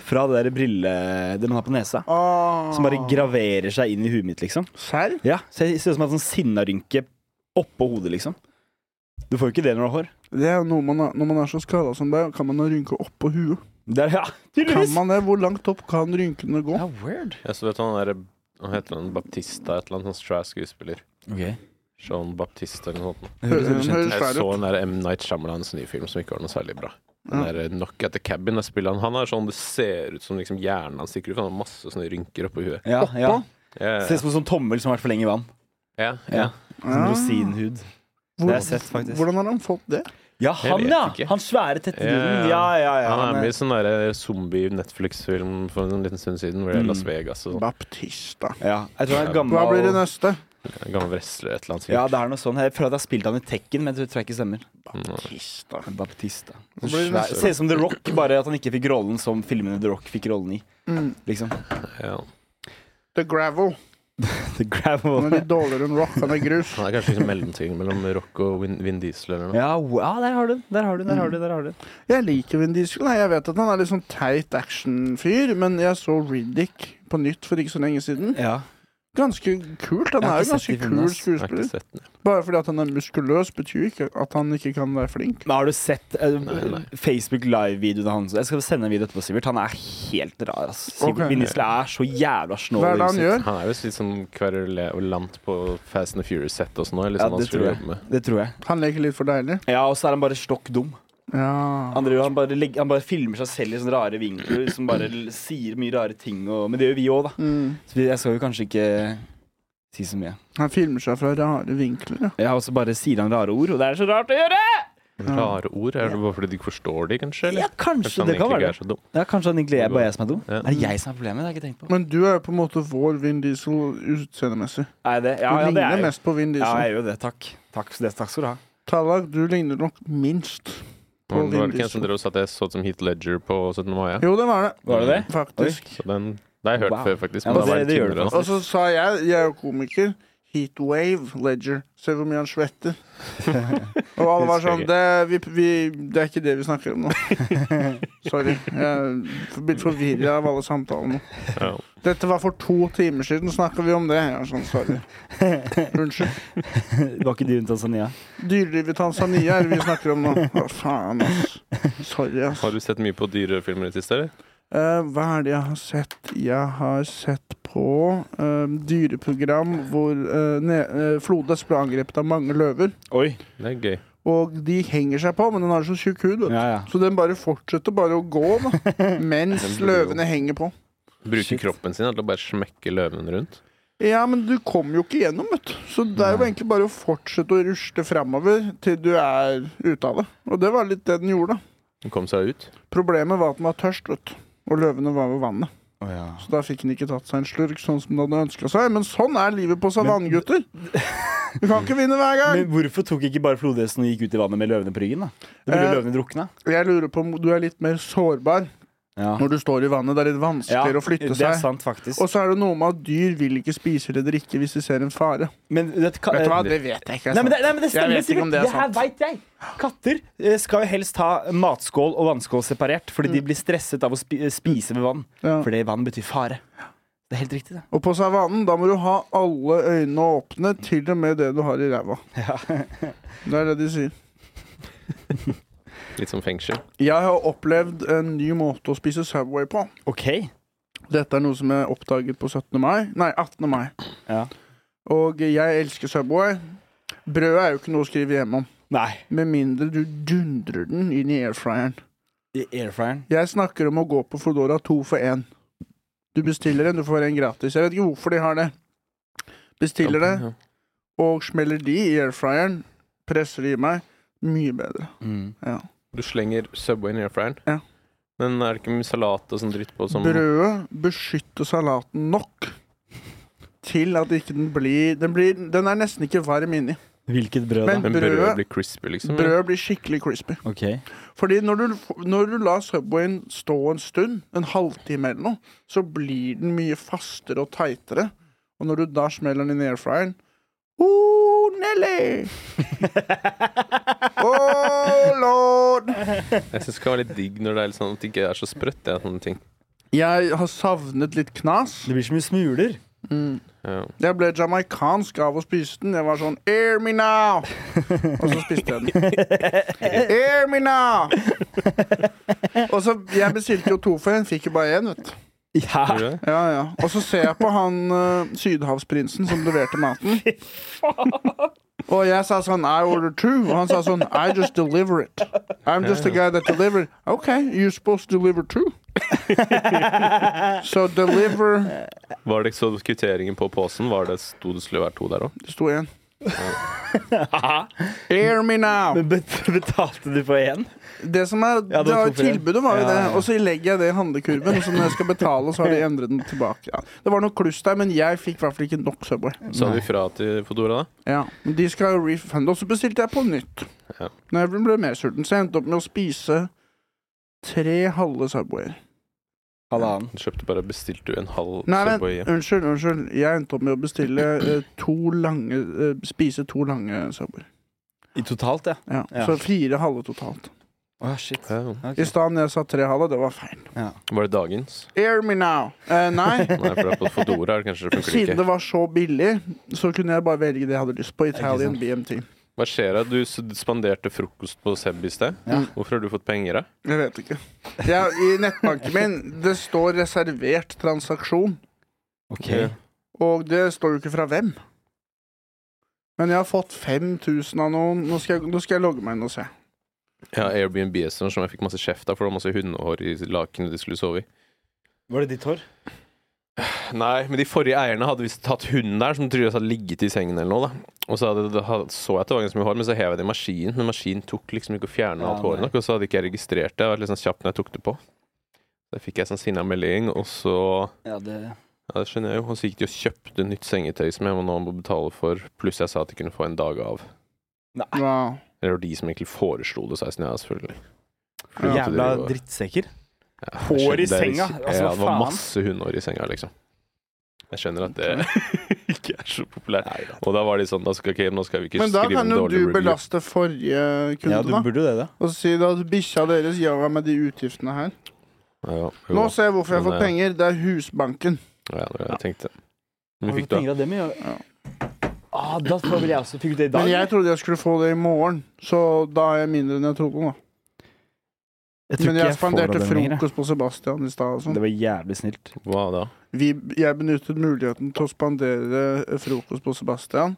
S1: Fra det der brille det man har på nesa.
S2: Ah.
S1: Mm. Som bare graverer seg inn i huet mitt, liksom.
S2: Serr?
S1: Ja, så jeg ser ut som en sånn sinnarynke oppå hodet, liksom. Du får jo ikke det når du har hår.
S2: Det er jo noe man, har- når man er så skada som deg, kan man ha rynker oppå huet.
S1: Det er, ja,
S2: Kan
S1: tydeligvis.
S2: man det? Hvor langt opp kan rynkene gå?
S1: Ja, weird.
S3: Jeg så vet du han derre Hva heter han? Baptista? Et eller annet sånt trash skuespiller.
S1: Okay.
S3: Sean Baptista eller noe sånt.
S1: Det
S2: Hører,
S1: høres veldig kjent ut.
S2: høres
S3: Jeg
S2: svær
S3: så
S2: ut.
S3: den der M. Night Shyamalans nye film som ikke var noe særlig bra. Den
S2: Ja.
S3: der eh, Knock at the Cabin. Der spiller han Han er sånn det ser ut som liksom hjernen hans stikker ut. for Han har masse sånne rynker oppå huet.
S1: Ja, ja.
S3: Ja, ja,
S1: Ser ut som en sånn tommel som har vært for lenge i vann.
S3: ja, ja.
S1: Ja. Sånn rosinhud. Det har jeg
S2: Ah. Hvor-
S1: sett, faktisk.
S2: Hvordan har han fått det?
S1: Ja,
S3: Jeg
S1: han,
S3: vet
S1: ja!
S3: ikke.
S1: Han svære, tette munnen. Ja,
S3: Ja,
S1: ja, ja.
S3: Han er
S1: han er-
S3: med i sånn der zombie-Netflix-film for en liten stund siden, hvor det er
S1: Mm.
S3: Las Vegas og sånn.
S2: Baptista.
S1: ja. Jeg tror han er gammel.
S2: Hva blir det
S1: og-
S2: neste?
S3: En Gammel wrestler et eller annet.
S1: Ja,
S3: sikkert.
S1: det er noe sånn. Jeg føler at jeg har spilt han i Tekken, men det tror jeg ikke stemmer.
S2: Baptista.
S1: Baptista.
S2: Hva blir det
S1: Svær-
S2: neste?
S1: Ser ut som The Rock, bare at han ikke fikk rollen som filmene The Rock fikk rollen i.
S2: Mm.
S1: Liksom.
S3: Ja.
S2: The Gravel.
S1: The Gravel.
S2: Han er litt dårligere enn rock. Han er grus.
S3: Han er kanskje liksom mellomting mellom Rock og Vin, Vin Diesel eller noe.
S1: Ja, wow, ja, der har du den. Der har du den. Der har du den. Der har du den.
S2: Jeg liker Vin Diesel. Nei, jeg vet at han er litt sånn teit actionfyr, men jeg så Riddick på nytt for ikke så lenge siden.
S1: Ja.
S2: Ganske kult. Han
S1: Jeg har
S2: er
S1: ikke
S2: jo ganske
S1: sett de filmene,
S2: kul
S1: ass.
S3: Jeg har ikke
S2: skuespiller.
S3: sett den. jeg.
S2: Bare fordi at han er muskuløs, betyr ikke at han ikke kan være flink.
S1: Men har du sett eh,
S3: Nei, nei.
S1: Facebook Live-videoen hans? Jeg skal sende en video etterpå, Sivert. Han er helt rar, ass. Sivert
S2: Ok.
S1: Vinnisle er så jævla snål.
S2: Hva er
S1: i
S2: det han
S1: huset.
S2: gjør?
S3: Han er jo litt sånn kverulant på Fast and the Furious-sett og sånn.
S1: Ja,
S3: Liksom,
S1: det
S3: han skulle
S1: tror jeg.
S3: jobbe med.
S1: Det tror jeg.
S2: Han leker litt for deilig.
S1: Ja, og så er han bare stokk dum.
S2: Ja.
S1: Han, driver, han, bare legger, han bare filmer seg selv i sånne rare vinkler som bare l- sier mye rare ting. Og, men det gjør vi òg, da.
S2: Mm.
S1: Så vi- jeg skal jo kanskje ikke si så mye.
S2: Han filmer seg fra rare vinkler. Ja.
S1: Jeg har også bare sier han rare ord, og det er så rart å gjøre!
S3: Rare ord? Er det bare fordi du ikke forstår de, kanskje?
S1: Ja,
S3: Eller?
S1: kanskje det kan
S3: Kanskje han egentlig
S1: være
S3: ikke
S1: det.
S3: er så dum.
S1: Ja, kanskje han egentlig er bare jeg som er dum.
S3: Ja.
S1: Er det jeg som er problemet? Det har jeg ikke tenkt på.
S2: Men du er jo på en måte vår Vin Diesel utseendemessig.
S1: Er det?
S2: Du
S1: Ja, ja, det
S2: ligner
S1: er jeg.
S2: mest på Vin
S1: Ja, jeg
S2: Diesel.
S1: er jo det. Takk. Takk, det, takk skal du ha.
S2: Tallak, du ligner nok minst på
S3: Men det
S2: Vin
S3: var ikke en som
S2: Diesel.
S3: drev og sa at jeg så ut som Heath Ledger på 17. mai? ja?
S2: Jo, det var det.
S1: Var det det?
S2: Faktisk.
S3: Så den, det har jeg hørt
S1: Wow.
S3: før, faktisk.
S1: Ja, men
S3: Men da var
S1: det-
S3: den
S1: det gjør
S3: tynnere,
S1: det
S3: altså.
S2: Og så sa jeg, jeg er jo komiker, heatwave ledger. Se hvor mye han svetter. Og alle var sånn det, vi, vi, det er ikke det vi snakker om nå. Sorry. Jeg er blitt forvirra av alle samtalene.
S3: Ja.
S2: Dette var for to timer siden, snakker vi om det? Jeg er sånn, sorry. Unnskyld.
S1: Var ikke du i Tanzania?
S2: Dyrelivet i Tanzania er det vi snakker om nå. Å, faen, ass. Sorry, ass.
S3: Har du sett mye på dyrefilmer i det siste, eller?
S2: Eh, hva er det jeg har sett? Jeg har sett på eh, dyreprogram hvor eh, ne eh, Flodhest ble angrepet av mange løver.
S1: Oi.
S3: Det er gøy.
S2: Og de henger seg på, men den har så tjukk hud. vet du.
S1: Ja, ja.
S2: Så den bare fortsetter bare å gå da, mens
S3: Den blir jo-
S2: løvene henger på.
S3: Bruker
S1: Shit.
S3: kroppen sin da, til å bare smekke løven rundt.
S2: Ja, men du kommer jo ikke gjennom, vet du. Så det er jo
S1: Nei.
S2: egentlig bare å fortsette å rusle framover til du er ute av det. Og det var litt det den gjorde. da.
S3: Den kom seg ut.
S2: Problemet var at den var tørst, vet du. Og løvene var ved vannet.
S1: Å, ja.
S2: Så da fikk den ikke tatt seg en slurk sånn som den hadde ønska seg. Men sånn er livet på savannen, gutter. Du kan ikke vinne hver gang.
S1: Men hvorfor tok ikke bare flodhesten og gikk ut i vannet med løvene på ryggen? da? Da ville
S2: Eh,
S1: løvene drukna.
S2: Jeg lurer på om du er litt mer sårbar
S1: Ja.
S2: når du står i vannet. Det er litt
S1: Ja,
S2: vanskeligere å flytte
S1: Det er
S2: seg.
S1: sant, faktisk.
S2: Og så er det noe med at dyr vil ikke spise eller drikke hvis de ser en fare.
S1: Men vet,
S2: Vet du hva,
S1: hva?
S2: det vet jeg ikke. altså.
S1: Nei, men det, nei, men det
S2: Jeg
S1: stemmer,
S2: vet ikke
S1: Sivert.
S2: om
S1: Det,
S2: det er
S1: her veit jeg. Katter eh, skal jo helst ha matskål og vannskål separert, fordi de blir stresset av å spi eh, spise ved vann.
S2: Mm. Ja.
S1: Fordi vann betyr fare. Det er helt riktig, det.
S2: Og på savannen, da må du ha alle øynene åpne, til og med det du har i ræva. Det er det de sier.
S3: Litt som fengsel.
S2: Jeg har opplevd en ny måte å spise Subway på.
S1: OK.
S2: Dette er noe som jeg oppdaget på 17. mai. Nei, 18. mai.
S1: Ja.
S2: Og jeg elsker Subway. Brødet er jo ikke noe å skrive hjemme om.
S1: Nei.
S2: Med mindre du dundrer den inn i airfryeren.
S1: I airfryeren.
S2: Jeg snakker om å gå på Foodora to for én. Du bestiller en, du får en gratis. Jeg vet ikke hvorfor de har det. Bestiller det,
S3: Ja.
S2: og smeller de i airfryeren, presser de i meg. Mye bedre.
S1: Mm.
S3: Du slenger Subway i airfryeren.
S2: Ja.
S3: Men er det ikke mye salat og sånn dritt på som
S2: Brødet beskytter salaten nok til at ikke den blir Den, blir, den er nesten ikke varm inni.
S1: Hvilket brød,
S2: Men-
S1: da?
S3: Men brødet
S2: Brødet-
S3: blir crispy, liksom? ja.
S2: Brødet blir skikkelig crispy.
S1: OK.
S2: Fordi når du, når du lar Subwayen stå en stund, en halvtime eller noe, så blir den mye fastere og tightere. Og når du da smeller den inn i airfryeren Oh, Nelly! Oh, lord!
S3: Jeg syns det kan være litt digg når det er litt sånn at det ikke er så sprøtt. Det er sånne ting.
S2: Jeg har savnet litt knas. Mm.
S1: Det blir så mye smuler.
S3: Ja.
S2: Jeg ble jamaikansk av å spise den. Jeg var sånn Air me now! Og så spiste jeg den. Air me now! Og så, Jeg bestilte jo to for en, fikk jo bare én, vet du.
S1: Ja.
S3: Tror du det?
S2: Ja, ja. Og så ser jeg på han eh, sydhavsprinsen som leverte maten. Og jeg sa sånn I order two. Og han sa sånn I just deliver it. I'm just the guy that delivered. OK, you're supposed to deliver two. So deliver
S3: Var det ikke så kvitteringen på posen? Var det sto det skulle være to der òg?
S2: Det sto én. Air me now!
S1: Men bet betalte du på én?
S2: Det som er,
S1: Ja,
S2: det
S1: det var
S2: var
S1: to for en.
S2: tilbudet var jo
S1: Ja, ja, ja.
S2: det, og så legger jeg det i handlekurven. Og så når jeg skal betale, så har de endret den tilbake. Ja. Det var noe kluss der, men jeg fikk i hvert fall ikke nok Subway.
S3: Sa du ifra til Fodora, da?
S2: Ja. Men de skal jo refunde, og så bestilte jeg på nytt.
S3: Ja.
S2: Når jeg ble mer sulten, så jeg endte opp med å spise tre halve Subwayer.
S1: Halvannen.
S3: Du kjøpte bare Bestilte du en halv
S2: Nei, men
S3: Subway?
S2: unnskyld, unnskyld. Jeg endte opp med å bestille eh, to lange eh, Spise to lange Subwayer.
S1: I totalt, ja.
S2: Ja. Så fire halve totalt.
S1: Å, shit.
S3: Ja.
S2: I stedet når jeg sa tre halve, det var feil.
S3: Var det dagens?
S2: Air me now! Eh, nei.
S3: Nei, for det er på Fodora er det kanskje det funker
S2: Siden
S3: ikke.
S2: det var så billig, så kunne jeg bare velge det jeg hadde lyst på. Italian
S1: sant?
S2: BMT.
S3: Hva skjer da? Du s- spanderte frokost på Seb i sted.
S1: Ja.
S3: Hvorfor har du fått penger, da?
S2: Jeg vet ikke. Jeg, I nettbanken min det står 'reservert transaksjon',
S1: OK.
S3: Ja.
S2: og det står jo ikke fra hvem. Men jeg har fått 5000 av noen. Nå skal, jeg, nå skal jeg logge meg inn og se.
S3: Ja, Airbnb-eren som jeg fikk masse kjeft av, for det var masse hundehår i lakenet de skulle sove i.
S1: Var det ditt hår?
S3: Nei, men de forrige eierne hadde visst tatt hunden der, som tydeligvis hadde ligget i sengen eller noe. da. Og så hadde, da had- så jeg at det var ganske mye hår, men så hev jeg det i maskinen. Men maskinen tok liksom ikke å fjerne
S1: Ja,
S3: alt håret
S1: nei.
S3: nok, og så hadde ikke jeg registrert det. Jeg var litt sånn kjapp når jeg tok det på. Da fikk jeg sånn sinna melding, og så
S1: Ja, det
S3: Ja, det skjønner jeg jo. Og så gikk de og kjøpte nytt sengetøy som jeg må nå må betale for, pluss jeg sa at jeg kunne få en dag av.
S1: Nei.
S2: Wow.
S3: Eller det var de som egentlig foreslo det, sa jeg sånn, ja, selvfølgelig. Fordi at
S1: Jævla
S3: de var-
S1: drittsekker.
S3: Ja,
S1: Hår
S3: jeg skjønner-
S1: i
S3: det er-
S1: senga, altså,
S3: ja,
S1: hva
S3: det var
S1: faen?
S3: masse hundehår i senga, liksom. Jeg skjønner at det ikke er så populært.
S1: Nei, da.
S3: Og da var de sånn da skal, ok, Nå skal vi ikke
S2: Men da
S3: skrive
S2: kan jo
S3: dårlig
S2: du
S3: review.
S2: belaste forrige
S1: Ja,
S2: kunde,
S1: du
S2: da.
S1: burde jo det, da.
S2: Og si da at bikkja deres gjør meg med de utgiftene her.
S3: Ja, jo.
S2: Nå ser jeg hvorfor jeg
S3: Men,
S2: får
S3: eh,
S2: penger. Det er Husbanken.
S3: ja, det var det jeg tenkte. Men
S1: Har du
S3: fikk du
S1: penger av dem, ja?
S2: Ja.
S1: Ah, da tror jeg vel jeg også fikk det i dag.
S2: Men jeg trodde jeg skulle få det i morgen, så da er jeg mindre enn jeg trodde. da
S1: Jeg tror
S2: Men
S1: ikke får
S2: jeg
S1: av
S2: spanderte
S1: dem lenger, jeg.
S2: frokost på Sebastian i stad. og sånn.
S1: Det var jævlig snilt.
S3: Hva da?
S2: Vi- Jeg benyttet muligheten til å spandere eh, frokost på Sebastian.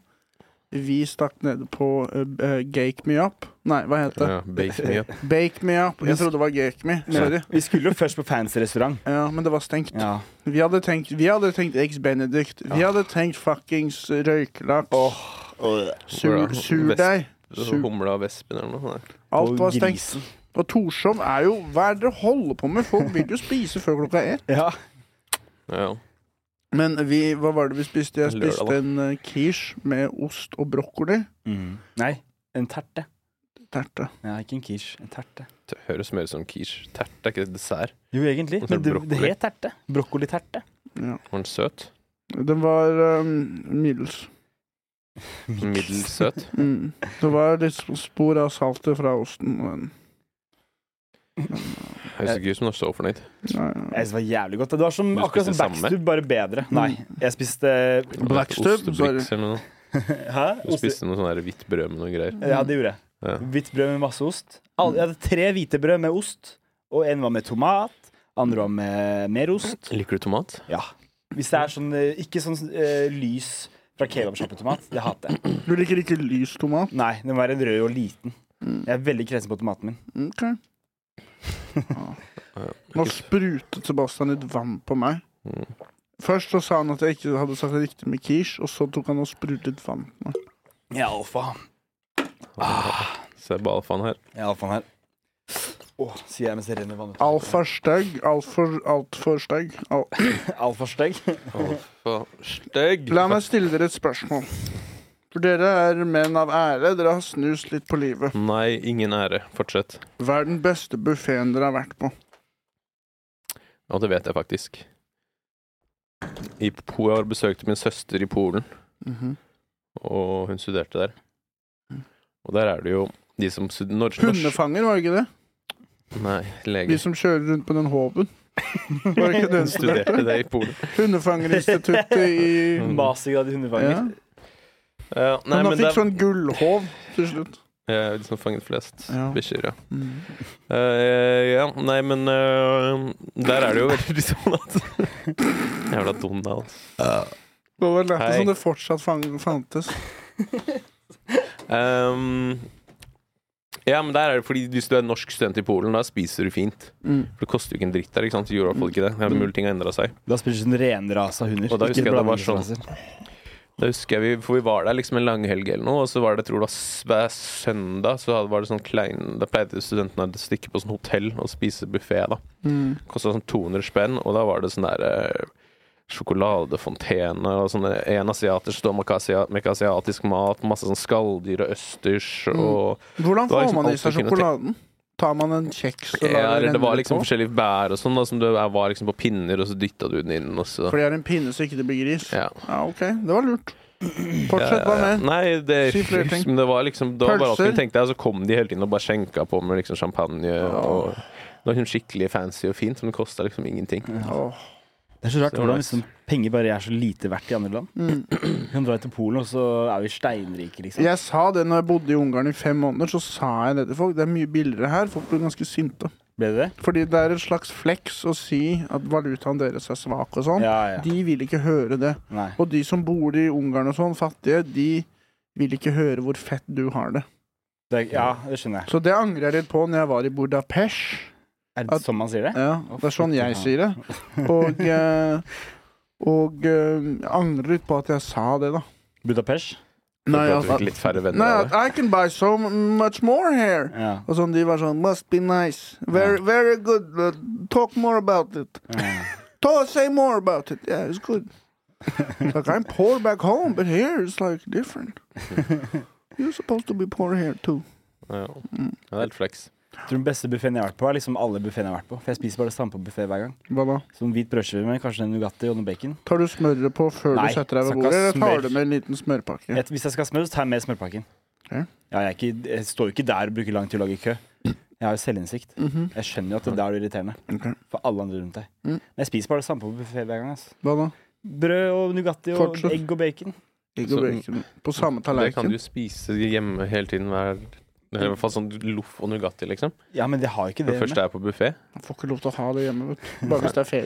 S2: Vi stakk nede på eh, b- eh, Gake Me Up. Nei, hva het det?
S3: Ja, bake me up.
S2: Bake Me Up. Jeg trodde det var Gake Me. Sorry.
S1: Vi skulle jo først på fancy restaurant.
S2: Ja, men det var stengt.
S1: Ja.
S2: Vi hadde tenkt, vi hadde tenkt Eggs Benedict. Vi hadde tenkt fuckings røykelaks.
S3: Hvor
S2: sur,
S3: da?
S2: surdeig.
S3: Så Humla og vespen eller noe sånt.
S2: Alt var
S1: Og
S2: stengt.
S1: grisen.
S2: Og Torshov er jo Hva er det dere holder på med? Folk vil jo spise før klokka ett.
S1: Ja.
S3: Ja, ja.
S2: Men vi, hva var det vi spiste? Jeg
S3: Lørdag,
S2: spiste en eh, quiche med ost og brokkoli. Mm.
S1: Nei, en terte.
S2: Terte.
S1: Ja, ikke en quiche. En terte.
S3: Det høres mer ut som quiche. Tert er ikke dessert.
S1: Jo, egentlig.
S3: Og så er
S1: Men
S3: det
S1: det, det
S3: brokkoli.
S1: het terte. Brokkoliterte.
S2: Ja.
S3: Var den søt?
S2: Den var um, middels.
S3: Middels søt?
S2: Mm. Det var litt sp- spor av saltet fra osten. Men,
S3: Høres ikke ut som du er så fornøyd.
S2: ja, ja.
S1: Jeg synes det var jævlig godt. Det var som,
S3: Du
S1: akkurat som
S3: spiste samme?
S1: Backstub, bare bedre. Nei, jeg spiste
S2: Blackstub,
S3: Ostebriks eller noe.
S1: Hæ?
S3: Du spiste noe sånn der hvitt brød med noe greier.
S1: Ja, det gjorde jeg.
S3: Ja.
S1: Hvitt brød med masse ost. Alle- Jeg hadde tre hvite brød med ost, og en var med tomat, andre var med mer ost.
S3: Liker du tomat?
S1: Ja. Hvis det er sånn eh, Ikke sånn eh, lys fra kebabsjappetomat. Det hater jeg.
S2: Du liker ikke lys tomat?
S1: Nei, den var en rød og liten. Jeg er veldig kresen på tomaten min.
S2: Ok. Ja.
S3: Ja.
S2: Nå sprutet Sebastian litt vann på meg.
S3: Mm.
S2: Først så sa han at jeg ikke hadde sagt det riktig med quiche, og så tok han og sprutet litt vann på meg.
S1: Jeg er alfa.
S2: Ah.
S3: Se balfaen her.
S1: Jeg er alfaen her. Åh, sier jeg mens det renner vann ut.
S2: Altfor stygg. Altfor alt for stygg. Al
S1: Alfastygg.
S3: Alfa stygg.
S2: La meg stille dere et spørsmål. For dere er menn av ære. Dere har snust litt på livet.
S3: Nei, ingen ære. Fortsett.
S2: Hva er den beste buffeen dere har vært på?
S3: Og det vet jeg faktisk. I Po- jeg har besøkt min søster i Polen,
S2: Mhm.
S3: og hun studerte der. Og der er det jo de som stud- norsk, norsk
S2: Hundefanger, var det ikke det?
S3: Nei,
S2: De
S3: leger.
S2: som kjører rundt på den håven. Var det ikke den som
S3: studerte det i Polen.
S2: Hundefangerinstituttet i
S3: Mm.
S1: Masigrad i hundefanger.
S2: Ja.
S3: Ja, Eh, nei,
S2: men
S3: men
S2: han fikk
S3: det er
S2: sånn gullhov til slutt.
S3: eh, de som fanget flest
S2: Ja. Mm.
S3: bikkjer, ja. Eh, ja. Nei, men eh, der er det jo veldig sånn at Jævla altså. Donald.
S2: Det var lættis
S3: Hei.
S2: som det fortsatt fang fantes.
S3: Ehm, ja, men der er det fordi hvis du er norsk student i Polen, da spiser du fint. For det koster jo ikke en dritt der. ikke sant? Det gjorde i hvert fall ikke det. Det er mulig ting har endra seg.
S1: Da spiller du sånn renrasa hunder.
S3: Og da
S1: Ikke
S3: husker jeg det var sånn.
S1: blandingsraser.
S3: Da husker jeg vi, For vi var der liksom en langhelg eller noe, og så var det, jeg tror det var s- hver søndag, så hadde- var det sånn klein Da pleide studentene å stikke på sånn hotell og spise buffé, da.
S2: Mm.
S3: Kosta sånn 200 spenn, og da var det sånn derre Sjokoladefontene og sånn en asiatisk og mekasiatisk mat, masse sånn skalldyr og østers
S2: Mm.
S3: og
S2: Hvordan
S3: Det var
S2: får
S3: liksom
S2: man i
S3: alt
S2: seg
S3: du kunne
S2: sjokoladen? Tar man en kjeks og
S3: Ja,
S2: lar
S3: eller
S2: det
S3: det var
S2: renne
S3: liksom
S2: på?
S3: forskjellige bær og sånn, da, som det var liksom på pinner, og så dytta du den inn, og så
S2: For det er en pinne så ikke det blir gris?
S3: ja.
S2: Ja, OK. Det var lurt. Fortsett, hva
S3: Ja,
S2: med?
S3: Nei, det,
S2: Si flere ting.
S3: men det var liksom det var bare alt
S2: Pølser.
S3: hun tenkte, og så kom de hele tiden og bare skjenka på med liksom champagne. Og det var liksom skikkelig fancy og fint, men det kosta liksom ingenting.
S2: Åh.
S1: Det er så rart
S3: Så det var
S1: hvordan
S3: nice.
S1: liksom, penger bare er så lite verdt i andre land.
S2: Mm.
S1: Vi kan dra til Polen, og så er vi steinrike, liksom.
S2: Jeg sa det når jeg bodde i Ungarn i fem måneder, så sa jeg det til folk. Det er mye billigere her. Folk blir ganske sinte.
S1: Ble det det?
S2: Fordi det er en slags flex å si at valutaen deres er svak og sånn.
S1: Ja, ja.
S2: De vil ikke høre det.
S1: Nei.
S2: Og de som bor i Ungarn og sånn, fattige, de vil ikke høre hvor fett du har det.
S1: Det, ja, det skjønner jeg.
S2: Så det angrer jeg litt på når jeg var i Budapest.
S1: Er det sånn man sier det?
S2: Ja, det er sånn jeg sier det. Og, eh, og eh, jeg angrer litt på at jeg sa det, da.
S1: Budapest?
S3: Nei,
S2: at-
S3: at du fikk litt færre
S2: altså-
S3: venner
S2: nei,
S3: av
S2: at I can buy so much more here.
S1: Ja.
S2: Og sånn, De var sånn Must be nice. Very, very good. Uh, Talk more about it.
S1: ja.
S2: Talk, say more about it. Yeah, it's good. like I'm poor back home, but here it's like different. You're supposed to be poor here too.
S3: det. Ja. Ja,
S2: Mm.
S3: det er helt flex.
S1: Jeg tror den beste buffeen jeg har vært på, er liksom alle buffeene jeg har vært på. For jeg spiser bare det samme på buffé hver gang.
S2: Hva da?
S1: Som hvit brødskive med kanskje en Nugatti og noe bacon.
S2: Tar du smøret på før
S1: Nei,
S2: du setter deg ved
S1: skal
S2: bordet,
S1: ikke ha
S2: eller tar
S1: smør.
S2: du med en liten smørpakke?
S1: Et, hvis jeg skal ha smør, så tar jeg med smørpakken. Ja,
S2: Ok.
S1: jeg, er ikke, jeg står jo ikke der og bruker lang tid å lage kø. Jeg har jo selvinnsikt. Jeg skjønner jo at det der er irriterende
S2: Mhm. Ok.
S1: for alle andre rundt deg.
S2: Mm.
S1: Men jeg spiser bare det samme på buffé hver gang. ass.
S2: Hva da?
S1: Brød og Nugatti og
S2: Fortsett.
S1: egg og bacon.
S2: Egg og
S3: Så-
S2: bacon på samme
S3: Det kan
S2: tallerken?
S3: du spise hjemme hele tiden. Hver, eller i hvert fall sånn loff og Nugatti, liksom.
S1: Ja, men jeg har jo ikke
S3: Når
S1: det.
S3: du først
S1: Med.
S3: er på buffé.
S2: Jeg får ikke lov til å ha det hjemme, vet du. Bare hvis det er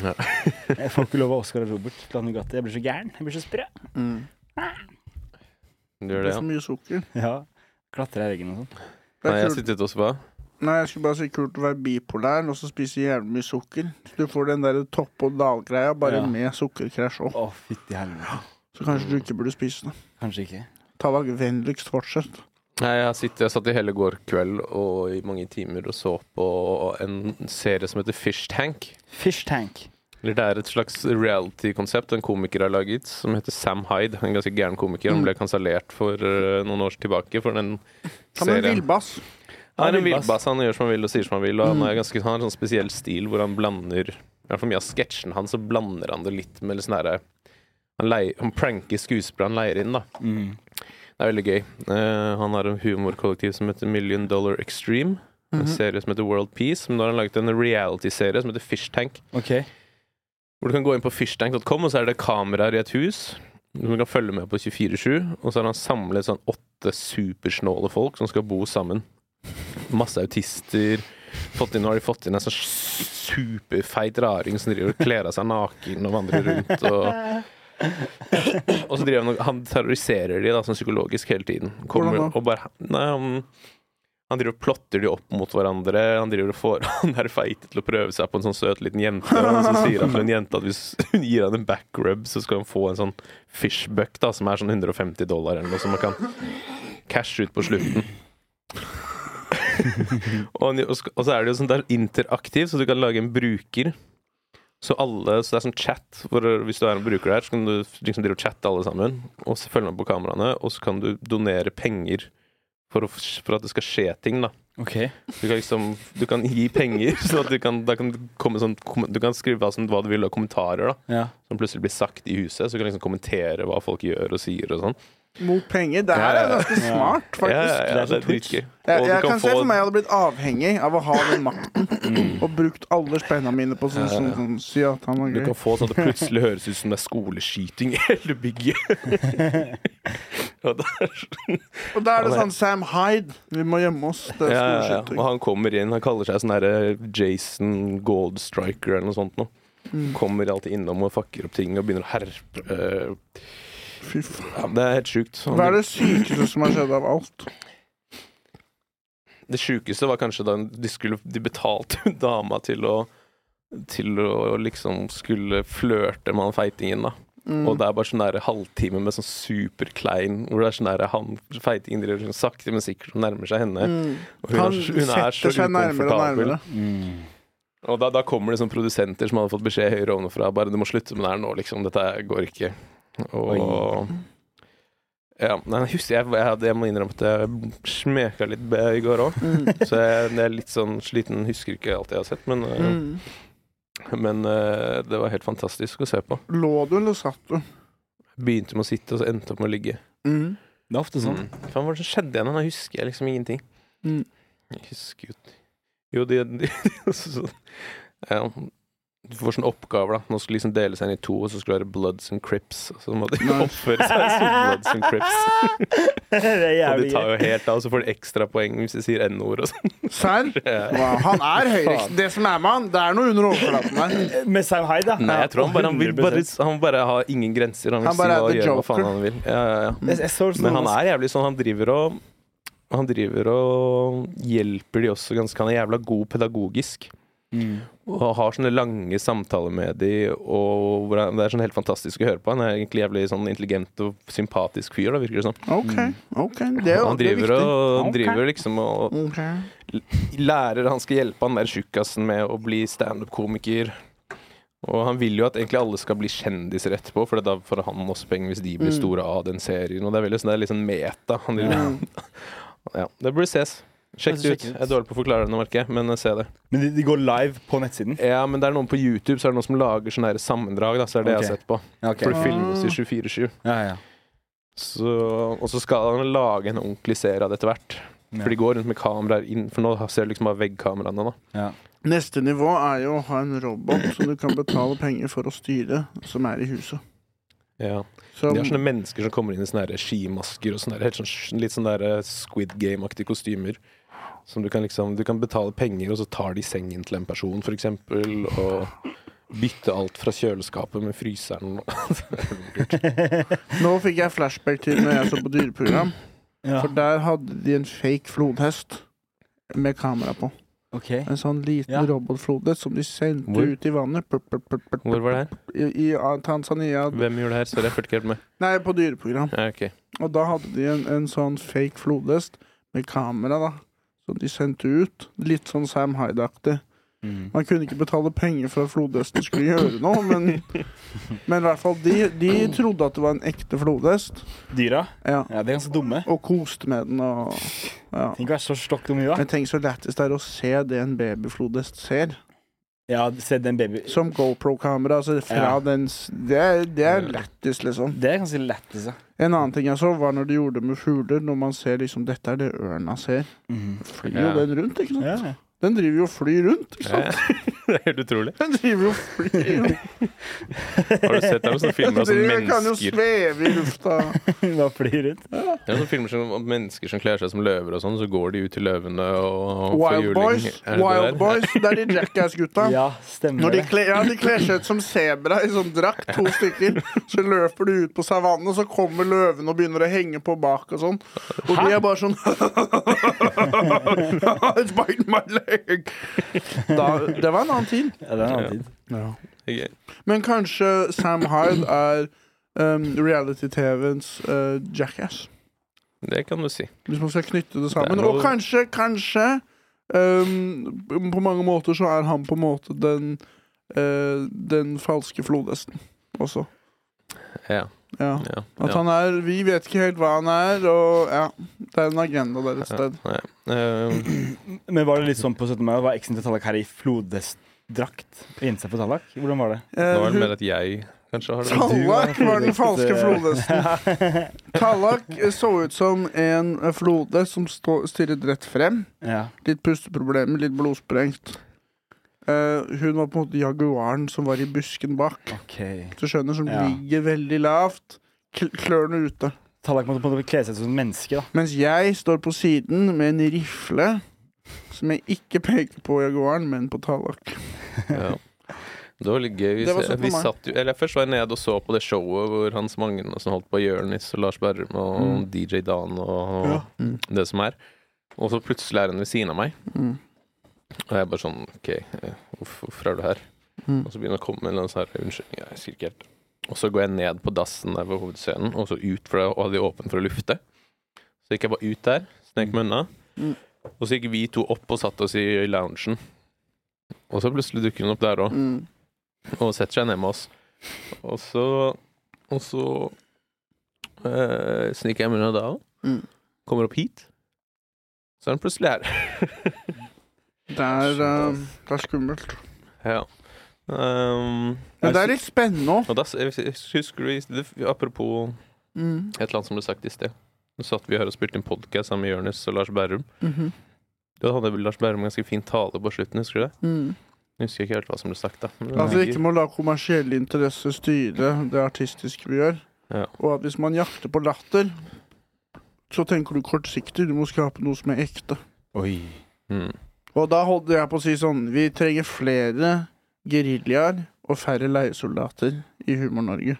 S2: ferie.
S1: Jeg får ikke lov av Oskar og Robert til å ha Nugatti. Jeg blir så gæren. Jeg blir så sprø.
S3: Du
S2: Det
S3: Mm. gjør det,
S2: er så
S3: ja?
S2: mye sukker.
S1: Ja. Klatre i veggen og sånn.
S2: Det
S3: Nei,
S2: er
S3: jeg
S2: kult.
S3: sittet også på.
S2: Nei, jeg skulle bare si kult å være bipolær og så spise jævlig mye sukker. Så du får den der topp og dal-greia, bare
S1: Ja.
S2: med sukkerkrasj òg.
S1: Å, fytti helvete.
S2: Så kanskje du ikke burde spise det.
S1: Kanskje ikke.
S2: Ta deg vennligst fortsett.
S3: Nei, jeg, har sittet, jeg satt i hele går kveld og i mange timer og så på en serie som heter Fish Tank.
S1: Fish tank.
S3: Eller Det er et slags reality-konsept en komiker har laget, som heter Sam Hyde. En ganske gæren komiker. Han ble kansellert for eh, noen år tilbake for den
S2: Ta med en
S3: serien.
S2: villbass.
S3: Han er en villbass. Han gjør som han vil og sier som han vil. Og han, er ganske, han har en sånn spesiell stil hvor han blander I hvert fall mye av sketsjen hans, så blander han det litt med litt sånn herre han, leier- han pranker skuespillere han leier inn, da.
S1: Mm.
S3: Det er veldig gøy. Eh, han har en humorkollektiv som heter Million Dollar Extreme.
S2: Mhm.
S3: En
S2: Mm-hmm.
S3: serie som heter World Peace. Men da har han laget en reality-serie som heter Fish Tank.
S1: OK.
S3: Hvor du kan gå inn på fishtank.com, og så er det kameraer i et hus. Som du kan følge med på 24-7. Og så har han samlet sånn åtte supersnåle folk som skal bo sammen. Masse autister. Fått inn, nå har de fått inn en sånn superfeit raring som driver og kler av seg naken og vandrer rundt. Og, og så driver han og Han terroriserer de da sånn psykologisk hele tiden. Kommer
S2: Hvordan da?
S3: og bare Nei, han han driver og plotter de opp mot hverandre. Han driver og får han der feite til å prøve seg på en sånn søt liten jente. Og så sier han til en jente at hvis hun gir han en backrub, så skal han få en sånn fishbuck, da, som er sånn 150 dollar eller noe, som man kan cashe ut på slutten. og, han, og sk- og så er det jo sånn der interaktiv, så du kan lage en bruker. Så alle, så det er sånn chat hvor Hvis du er en bruker der, så kan du liksom drive og chatte alle sammen. Og så følger man på kameraene, og så kan du donere penger for, å, f- for at det skal skje ting, da.
S1: OK.
S3: Du kan liksom Du kan gi penger, så at du kan, da kan det komme sånn kom- Du kan skrive hva, som, hva du vil av kommentarer, da.
S1: Ja.
S3: Som plutselig blir sagt i huset. Så du kan liksom kommentere hva folk gjør og sier og sånn.
S2: Mot penger. Det
S3: Ja,
S2: her
S3: ja,
S2: er
S3: ja.
S2: ganske
S1: Ja.
S2: smart,
S3: Ja,
S2: faktisk.
S3: ja,
S1: Det
S3: ja, det
S1: er
S3: er
S1: som Twitch.
S3: dritgøy.
S2: Jeg,
S3: Og du
S2: jeg
S3: kan
S2: kan se
S3: få Mm.
S2: for meg jeg hadde blitt avhengig av å ha den makten. Og brukt alle spenna mine på sånn,
S3: Ja,
S2: sånn,
S3: ja.
S2: sånn si at han var
S3: du
S2: gøy.
S3: kan få sånn at det plutselig høres ut som det er skoleskyting i hele bygget. Og da
S2: Og da er det sånn Sam Hyde. Vi må gjemme oss. Det er
S3: ja, ja, ja.
S2: skoleskyting.
S3: Og han kommer inn, han kaller seg sånn herre Jason Goldstriker eller noe sånt noe.
S2: Mm.
S3: Kommer alltid innom og fucker opp ting og begynner å herpe. eh,
S2: Fy faen.
S3: Ja, det er helt sjukt. Han-
S2: Hva er det sykeste som har skjedd av alt?
S3: Det sjukeste var kanskje da de, skulle, de betalte hun dama til å til å liksom skulle flørte med han feitingen, da.
S2: Mm.
S3: Og det er bare sånn der halvtime med sånn superklein Hvor det er sånn der han feitingen driver sånn sakte, men sikkert og nærmer seg henne.
S2: Mm.
S3: Og hun,
S2: Han
S3: er, hun er så
S2: setter seg nærmere og
S3: ukomfortabel.
S2: nærmere.
S1: Mm.
S3: Og da, da kommer det sånn produsenter som hadde fått beskjed høyere ovenfra bare 'Du må slutte med det her nå, liksom. Dette går ikke'. Og Ja, nei, jeg husker jeg, jeg, hadde- jeg må innrømme at jeg smeka litt be- i går òg.
S2: Mm.
S3: Så jeg, jeg er litt sånn sliten, husker ikke alt jeg har sett, men, øh,
S2: Mm.
S3: men øh, det var helt fantastisk å se på.
S2: Lå du, eller satt du?
S3: Begynte med å sitte, og så endte opp med å ligge.
S2: Mm.
S1: Det er ofte sånn.
S3: Mm. Faen, hva var det som skjedde igjen? Nå husker jeg liksom ingenting.
S2: Mm.
S3: Jeg husker jo Jo, de, de, altså, så, ja, Du får sånne oppgaver, da. Nå skulle liksom dele seg inn i to, og så skulle det være Bloods and Crips. Og så må de
S2: Nei.
S3: oppføre seg som Bloods and Crips.
S1: det er
S3: Og de
S1: jævlig
S3: tar
S1: gøy.
S3: jo helt av, og så får de ekstrapoeng hvis de sier N-ord og sånn.
S2: Serr? Wow. Han er høyreekstrem. Det som er med han, det er noe under overflaten der.
S1: Med Sam Hyde, da.
S3: Nei, jeg tror han bare, han vil bare,
S1: 100%.
S3: han bare har ingen grenser. Han vil
S2: Han bare
S3: si hva,
S2: er the
S3: gjøre hva
S2: Joker.
S3: faen han vil. Ja, ja, ja.
S1: Jeg, jeg så
S3: Men
S1: sånn
S3: han er jævlig sånn. Han driver og Han driver og hjelper de også ganske. Han er jævla god pedagogisk.
S1: mm.
S3: Og har sånne lange samtaler med de, og hvor han- det er sånn helt fantastisk å høre på. Han er egentlig jævlig sånn intelligent og sympatisk fyr, da, virker det som.
S2: OK. ok, Det er jo
S3: Mm. Han
S2: det er
S3: driver
S2: viktig.
S3: og
S1: Ok.
S3: driver liksom og
S2: Ok.
S3: lærer Han skal hjelpe han der tjukkasen med å bli standup-komiker. Og han vil jo at egentlig alle skal bli kjendiser etterpå, for da får han også penger hvis de blir
S2: Mm.
S3: store av den serien. Og det er veldig sånn, det er litt sånn meta. Han driver,
S2: Mm.
S3: ja, det burde ses.
S1: Jeg
S3: Sjekk det
S1: skal
S3: ut.
S1: sjekke
S3: Jeg
S1: ut.
S3: er dårlig på å forklare det, nå, merker jeg, men eh, se det.
S1: Men de, de går live på nettsiden?
S3: Ja, men det er noen på YouTube så er det noen som lager sånne her sammendrag. Da, så er det jeg
S1: Ok.
S3: har sett på.
S1: Ja, ok.
S3: For det filmes i 24-7.
S1: ja, ja.
S3: Så- Og så skal han lage en ordentlig serie av det etter hvert.
S1: Ja.
S3: For de går rundt med kameraer inn, for nå ser du liksom bare veggkameraene. da
S1: Ja.
S2: Neste nivå er jo å ha en robot som du kan betale penger for å styre, som er i huset.
S3: ja. Um,
S2: Som,
S3: De har sånne mennesker som kommer inn i sånne her skimasker og sånne her, helt sånn, litt sånne der Squid Game-aktige kostymer. Som du kan liksom Du kan betale penger, og så tar de sengen til en person, for eksempel. Og Bytte alt fra kjøleskapet med fryseren. sånn-
S2: Nå fikk jeg flashback til når jeg så på dyreprogram.
S1: ja.
S2: For der hadde de en fake flodhest med kamera på.
S1: OK.
S2: En sånn liten
S1: Ja.
S2: robotflodhest som de sendte
S3: Hvor?
S2: ut i vannet. Pr- pr- pr- pr-
S3: Hvor var det her?
S2: I, i Tanzania
S3: Hvem gjorde det her? Sorry, jeg fulgte ikke helt med.
S2: Nei, på dyreprogram.
S3: Ja, ok.
S2: Og da hadde de en, en sånn fake flodhest med kamera, da. Som de sendte ut. Litt sånn Sam Hyde-aktig.
S1: Mm.
S2: Man kunne ikke betale penger for at flodhesten skulle gjøre noe, men, men i hvert fall de, de trodde at det var en ekte flodhest.
S1: Dyra?
S2: Ja,
S1: Ja, de er ganske dumme.
S2: og koste med den og ja.
S1: Tenk å være så stokk dum i huet.
S2: Men tenk så lættis det er å se det en babyflodhest ser.
S1: Ja, se den baby...
S2: Som GoPro-kamera. Altså fra
S1: Ja.
S2: dens Det er, det er
S3: Ja.
S2: lættis, liksom.
S1: Det er ganske lættis, ja.
S2: En annen ting jeg så, var når de gjorde det med fugler. Når man ser liksom Dette er det ørna ser.
S1: Mm.
S2: Flyr jo
S3: Ja.
S2: den rundt, ikke sant?
S1: Ja.
S2: Den driver jo og flyr rundt, ikke sant?
S3: Det er helt utrolig.
S2: Den driver jo og flyr rundt.
S3: Har du sett det er sånne filmer
S2: Den
S3: av sånne
S2: driver, kan jo
S3: mennesker
S2: sveve i lufta.
S1: Bare flyr rundt.
S3: Det er sånne filmer som om mennesker som kler seg som løver og sånn, så går de ut til løvene og og får
S2: Wild
S3: juling.
S2: Boys.
S3: Er det
S2: Wild
S3: det der?
S2: Boys, Det er de Jackass-gutta.
S1: Ja, stemmer
S2: Når de
S1: det.
S2: kler, ja, de kler seg ut som sebra i sånn drakt, to stykker. Så løper du ut på savannen, og så kommer løven og begynner å henge på bak og sånn. Og de er bare sånn It's biting my leg. Da, det var en annen tid.
S1: Ja, det er en annen tid.
S3: Ok.
S2: Men kanskje Sam Hyde er um, reality-TV-ens eh, jackass.
S3: Det kan du si.
S2: Hvis man skal knytte det
S3: Det
S2: sammen.
S3: er noe-
S2: Og kanskje, kanskje um, På mange måter så er han på en måte den eh, Den falske flodhesten også.
S3: Ja.
S2: Ja.
S3: ja,
S2: At
S3: ja.
S2: han er Vi vet ikke helt hva han er, og ja. Det er en agenda der et
S3: Ja,
S2: sted.
S3: nei. Eh,
S1: Men var det litt sånn på 17. mai? Var eksen til Tallak her i flodhestdrakt? Prinsesse på Tallak? Hvordan var det?
S2: Eh,
S3: Nå er det
S2: hun-
S3: mer at jeg kanskje har det.
S2: Tallak
S1: Du er
S2: var den falske flodhesten.
S1: flodhesten.
S2: Tallak eh, så ut som en eh, flodhest som stå, stirret rett frem.
S1: ja.
S2: Litt pusteproblemer, litt blodsprengt. Eh, hun var på en måte jaguaren som var i busken bak.
S1: OK.
S2: Du skjønner, som
S1: Ja.
S2: ligger veldig lavt. kl- Klørne ute.
S1: Tallak måtte på en måte kle seg som et menneske, da.
S2: Mens jeg står på siden med en rifle som jeg ikke peker på jaguaren, men på Tallak.
S3: Ja. Det var litt gøy.
S2: Det var sånn for
S3: vi
S2: meg.
S3: satt jo, eller først var jeg nede og så på det showet hvor Hans Magnus holdt på Jonis og Lars Berrum og
S1: Mm.
S3: DJ Dan og
S2: Ja. Mm.
S3: det som er. Og så plutselig er hun ved siden av meg.
S2: Mm.
S3: Og jeg er bare sånn OK, eh, hvorf- hvorfor er du her?
S2: Mm.
S3: Og så begynner det å komme en eller annen sånn her Unnskyld, jeg husker ikke helt. Og så går jeg ned på dassen der ved hovedscenen, og så ut, for da hadde de åpent for å lufte. Så gikk jeg bare ut der, snek meg unna.
S2: Mm.
S3: Og så gikk vi to opp og satte oss i loungen. Og så plutselig dukker hun opp der òg,
S2: Mm.
S3: og setter seg ned med oss. Og så Og så eh, sniker jeg meg unna da òg.
S2: Mm.
S3: Kommer opp hit. Så er hun plutselig her.
S2: Det er, eh, det er skummelt.
S3: ja. Um,
S2: Men det er litt spennende òg.
S3: Og da s- jeg husker du, i- det- apropos
S2: Mm.
S3: et eller annet som ble sagt i sted Nå satt vi her og spilte en podkast sammen med Jonis og Lars Berrum.
S2: Mhm.
S3: Da hadde vel Lars Berrum en ganske fin tale på slutten, husker du det?
S2: Mm.
S3: Jeg husker ikke helt hva som ble sagt, da. Men
S2: At vi Altså, ikke må la kommersielle interesser styre det artistiske vi gjør.
S3: Ja.
S2: Og at hvis man jakter på latter, så tenker du kortsiktig. Du må skape noe som er ekte.
S1: Oi.
S3: mm.
S2: Og da holdt jeg på å si sånn Vi trenger flere geriljaer og færre leiesoldater i Humor-Norge.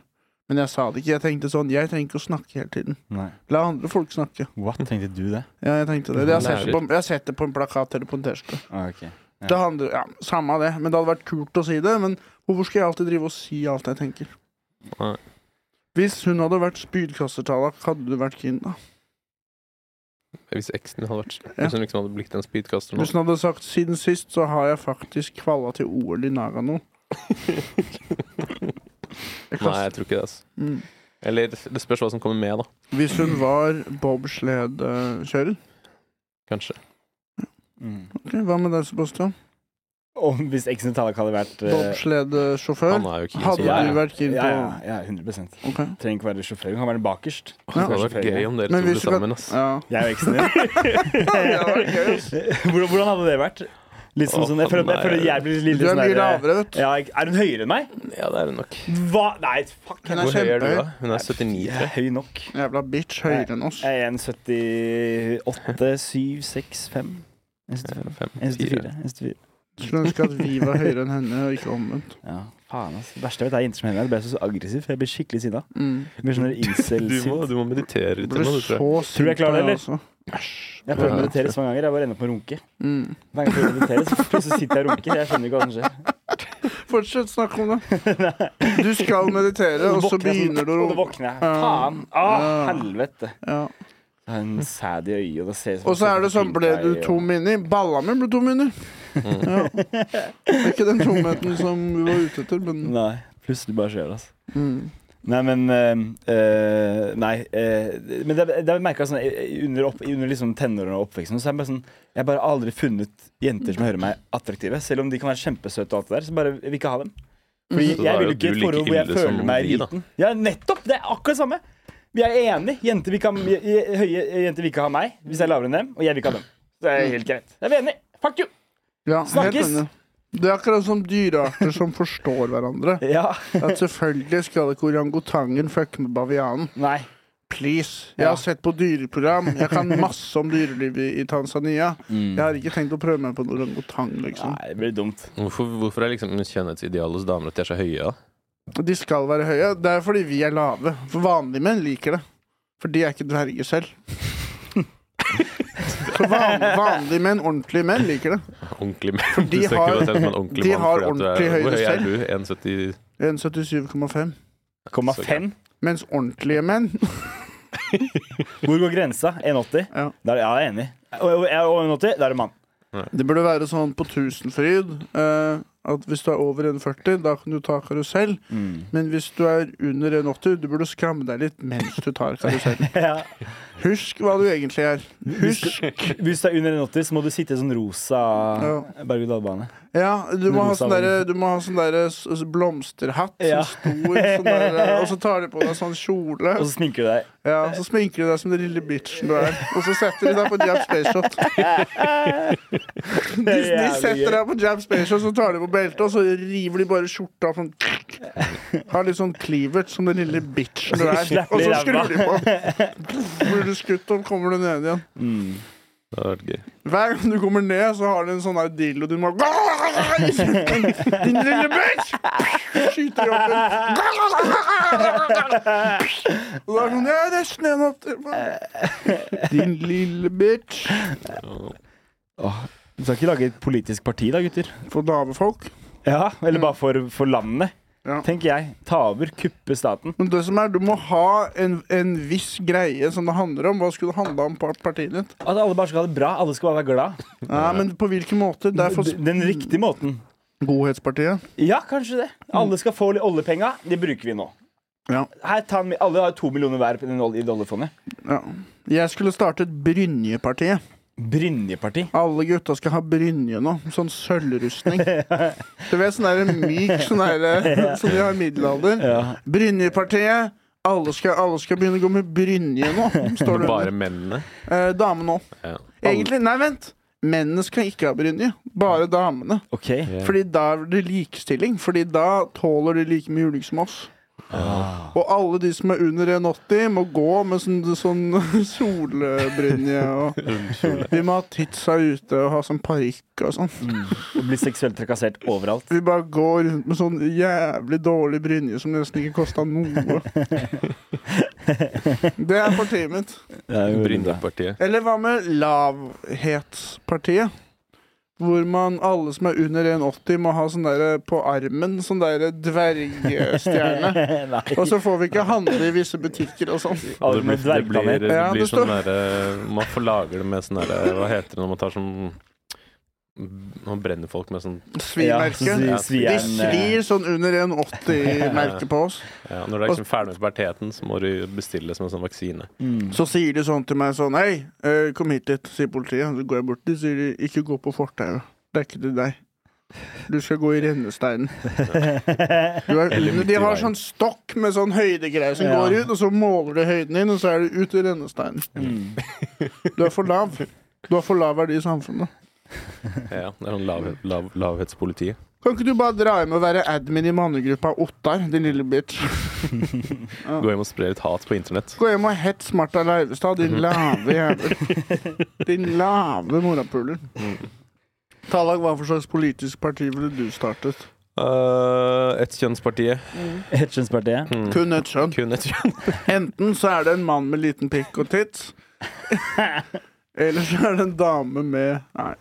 S2: Men jeg sa det ikke. Jeg tenkte sånn Jeg trenger ikke å snakke hele tiden.
S1: Nei.
S2: La andre folk snakke.
S1: What? Tenkte du det?
S2: Ja, jeg tenkte det. Jeg har sett det på,
S3: Lærer.
S2: jeg har sett det på en plakat eller på en T-skjorte.
S1: Ah, ok. Ja.
S2: Det handler Ja, samme av det. Men det hadde vært kult å si det. Men hvorfor skal jeg alltid drive og si alt jeg tenker?
S3: Nei.
S2: Hvis hun hadde vært spydkastertallak, hadde du vært keen, da?
S3: Hvis eksen hadde vært
S2: Ja.
S3: Hvis hun liksom hadde blitt en speedcaster nå
S2: Hvis hun hadde sagt 'siden sist så har jeg faktisk kvalla til OL i Nagano'. Jeg
S3: Nei,
S2: kaster-
S3: jeg tror ikke det. Altså.
S2: Mm.
S3: Eller det spørs hva som kommer med, da.
S2: Hvis hun var bobsled-kjører.
S3: Kanskje.
S1: Mm.
S2: Ok, hva med deg, Sebastian?
S1: Og hvis eksen til Tallak hadde vært eh,
S3: Han
S2: Bobsled-sjåfør.
S3: er jo ikke
S2: Hadde
S1: Ja, ja.
S2: du vært keen
S1: ja, ja,
S2: på
S1: ja, 100
S2: Ok.
S1: Trenger ikke være sjåfør, hun kan være den bakerst.
S3: Det hadde vært
S1: Selvfølgelig.
S3: gøy om dere
S2: Men
S3: to ble
S2: hvis du kan-
S3: sammen, ass.
S2: Ja.
S1: Jeg og eksen din.
S2: Det var gøy, ass.
S1: hvordan, hvordan hadde det vært? Litt sånn, sånn jeg, føler, jeg føler jeg blir litt
S2: Du er
S1: sånn
S2: mye
S1: der,
S2: lavere, vet du.
S1: ja, jeg- Er hun høyere enn meg?
S3: Ja, det er hun nok.
S1: Hva? Nei, fuck.
S2: Hun er
S3: Hvor høy er du,
S2: kjempehøy.
S3: da? Hun er 79,
S1: Jeg er
S3: tror jeg.
S1: høy nok.
S2: Jævla bitch. Høyere enn oss.
S1: Jeg er 1,78, 7, 6, 5. 1,74.
S3: 1,74.
S1: 1,74.
S2: Skulle ønske at vi var høyere enn henne, og ikke omvendt.
S1: Ja, faen ass. Det verste jeg vet er jenter som henger her. Jeg ble så aggressiv. Jeg blir skikkelig sinna.
S2: Mm.
S1: Jeg blir sånn
S3: Du må,
S1: incel-sint.
S3: du må meditere litt.
S2: Ble
S3: Emma, du,
S2: så
S3: tror jeg.
S1: sånn, Tror du jeg
S2: sint
S1: klarer
S2: på
S1: det,
S2: meg også.
S1: Jeg prøver å meditere så mange ganger. Jeg bare ender opp med å runke.
S2: Mm.
S1: Hver gang jeg prøver å meditere, så plutselig sitter jeg og runker. Jeg skjønner ikke hva som skjer.
S2: Fortsett å snakke om det. Du skal meditere, og så
S1: våkner jeg sånn,
S2: begynner du
S1: Og da
S2: å
S1: våkner jeg.
S2: Ja.
S1: Faen! Å,
S2: Ja.
S1: helvete!
S2: ja.
S1: Jeg har en sæd i øyet, og det ser ut som-
S2: Og så er det sånn Ble du tom inni? Balla mi ble tom inni.
S1: Mm.
S2: Ja. Det er ikke den tomheten som vi var ute etter, men
S1: Nei. Plutselig bare skjer det, altså.
S2: mm.
S1: Nei, men eh, eh, Nei. eh, men det det har jeg merka sånn, eh, under, opp, under liksom tenårene og oppveksten så er jeg bare sånn Jeg har bare aldri funnet jenter som hører meg attraktive. Selv om de kan være kjempesøte og alt det der, så bare vil ikke ha dem. Fordi
S3: Så da
S1: jeg
S3: er
S1: vil
S3: jo
S1: ikke i et
S3: du like
S1: forhold hvor jeg
S3: ille
S1: føler
S3: som
S1: meg
S3: vi, da.
S1: liten. Ja, nettopp! Det er akkurat det samme. Vi er enige. Jenter vil ikke ha, j- j- høye eh, jenter vil ikke ha meg hvis jeg er lavere enn dem, og jeg vil ikke ha dem. Så det er helt greit. Jeg er enig. Fuck you!
S2: Ja, helt
S1: Snakkes!
S2: enig. Det er akkurat som dyrearter som forstår hverandre.
S1: Ja.
S2: At selvfølgelig skal ikke orangutangen fucke med bavianen.
S1: Nei.
S2: Please. Jeg har
S1: Ja.
S2: sett på dyreprogram. Jeg kan masse om dyrelivet i Tanzania.
S3: Mm.
S2: Jeg har ikke tenkt å prøve meg på en orangutang, liksom.
S1: Nei, det blir dumt.
S3: Hvorfor, hvorfor er liksom kjønnhetsidealet hos damer at de er så høye? da?
S2: De skal være høye. Det er fordi vi er lave. For vanlige menn liker det. For de er ikke dverger selv. Så van, vanlige menn, ordentlige menn, liker det.
S3: Ordentlig menn.
S2: For de
S3: du
S2: har-
S3: har, deg selv som en ordentlig
S2: de
S3: mann
S2: har
S3: fordi at du er-
S2: ordentlig høyde selv.
S3: Hvor høy er du? 1,70?
S2: 1,77,5.
S1: Komma
S3: Så
S1: fem.
S2: Mens ordentlige menn
S1: Hvor går grensa? 1,80?
S2: Ja.
S1: Da er ja, jeg er enig. Og og- og 1,80, da er det mann.
S2: Det burde være sånn på Tusenfryd eh, at hvis du er over 1,40, da kan du ta karusell. Men hvis du er under 1,80, du burde skramme deg litt mens du tar karusell.
S1: Ja.
S2: Husk hva du egentlig er. Husk.
S1: Hvis du er under 1,80, så må du sitte i sånn rosa berg-og-dal-bane.
S2: Ja, du må ha
S1: Rosa
S2: sånn derre du må ha sånn derre s- s- blomsterhatt.
S1: Ja.
S2: Sånn stor, sånn derre- og så tar de på deg sånn kjole.
S1: Og så sminker du deg.
S2: Ja, så sminker de deg som den lille bitchen du er. Og så setter de deg på jab spaceshot. De, de setter deg på jab spaceshot, så tar de på beltet, og så river de bare skjorta av sånn Har litt sånn cleavert som den lille bitchen du er.
S1: Slapper i
S2: Og så
S1: ræva.
S2: skrur de på. Blir du skutt og kommer du ned igjen.
S1: Mm.
S3: Det hadde vært gøy.
S2: Hver gang du kommer ned, så har du en sånn her dildo du må Din lille bitch! Skyter i opp en Og da er det sånn Ja, det er snøen opp til Din lille bitch.
S1: Du skal ikke lage et politisk parti da, gutter?
S2: For damefolk.
S1: Ja, Eller bare for, for landet,
S2: Mm. Ja.
S1: tenker jeg. Ta over, kuppe staten.
S2: Men det som er, du må ha en, en viss greie som det handler om. Hva skulle det handle om par- partiet ditt?
S1: At alle bare skal ha det bra. Alle skal bare være glad.
S2: Nei, men på hvilken måte? Det er for
S1: Den, den riktige måten.
S2: Godhetspartiet.
S1: Ja, kanskje det.
S2: Mm.
S1: Alle skal få litt oljepenga. Det bruker vi nå.
S2: Ja.
S1: Her tar vi, alle har to millioner hver på den ol- i det oljefondet.
S2: ja. Jeg skulle startet Brynjepartiet.
S1: Brynjeparti.
S2: Alle gutta skal ha brynje nå. Sånn sølvrustning. Du vet sånn der myk sånn der som de har i middelalder.
S1: Ja.
S2: Brynjepartiet. Alle skal, alle skal begynne å gå med brynje nå, står det.
S3: Bare mennene.
S2: under. Eh, damene òg.
S3: Ja.
S2: Egentlig, nei, vent. Mennene skal ikke ha brynje. Bare damene.
S1: OK.
S3: Ja.
S2: Eh, Fordi da er det likestilling. Fordi da tåler de like mye ulykke som oss. Og alle de som er under 1,80, må gå med sånn, sånn solbrynje. Og vi må ha titsa ute og ha sånn parykk og sånn.
S1: Å bli Mm. seksuelt trakassert overalt.
S2: Vi bare går rundt med sånn jævlig dårlig brynje som nesten ikke kosta noe. Det er partiet mitt.
S3: Brynjepartiet.
S2: Eller hva med lavhetspartiet? Hvor man, alle som er under 1,80, må ha sånn der på armen, sånn der dvergestjerne.
S1: Nei.
S2: Og så får vi ikke handle i visse butikker og sånn.
S1: Alle
S3: Det blir,
S1: med
S3: det blir,
S1: dvergplanet.
S3: det
S2: Ja,
S3: blir
S2: det
S3: sånn derre Man forlager det med sånn derre Hva heter det når man tar sånn Man brenner folk med sånn
S1: Ja,
S2: Svimerke.
S1: så
S3: Ja,
S1: svir
S2: De
S1: en, eh,
S2: svir sånn under 1,80-merket på oss.
S3: ja, Når du er liksom ferdig med puberteten, så må du bestille som en sånn vaksine.
S1: mm.
S2: eh, Så sier de sånn til meg sånn Hei, eh, kom hit litt, sier politiet. Så går jeg bort. De sier de, ikke gå på fortauet. Det er ikke til deg. Du skal gå i rennesteinen. Du er,
S3: Eller midt i
S2: de har
S3: veien.
S2: sånn stokk med sånn høydegreier som
S1: Ja.
S2: går ut, og så måler du høyden din, og så er du ut i rennesteinen.
S1: Mm.
S2: Du er for lav. Du har for lav verdi i samfunnet.
S3: Ja, det er sånn lav, lav, lavhetspoliti.
S2: Kan ikke du bare dra hjem og være admin i mannegruppa Ottar, din lille bitch?
S3: Gå hjem og spre litt hat på internett.
S2: Gå hjem og hets Marta Leivestad, din lave jævel. Din lave morapuler. Tallag, hva for slags politisk parti ville du startet?
S3: Eh, et kjønnspartiet.
S1: Hitchens-partiet.
S3: Mm.
S2: Kun et kjønn.
S3: Kun et kjønn.
S2: Enten så er det en mann med liten pikk og tits, eller så er det en dame med Nei.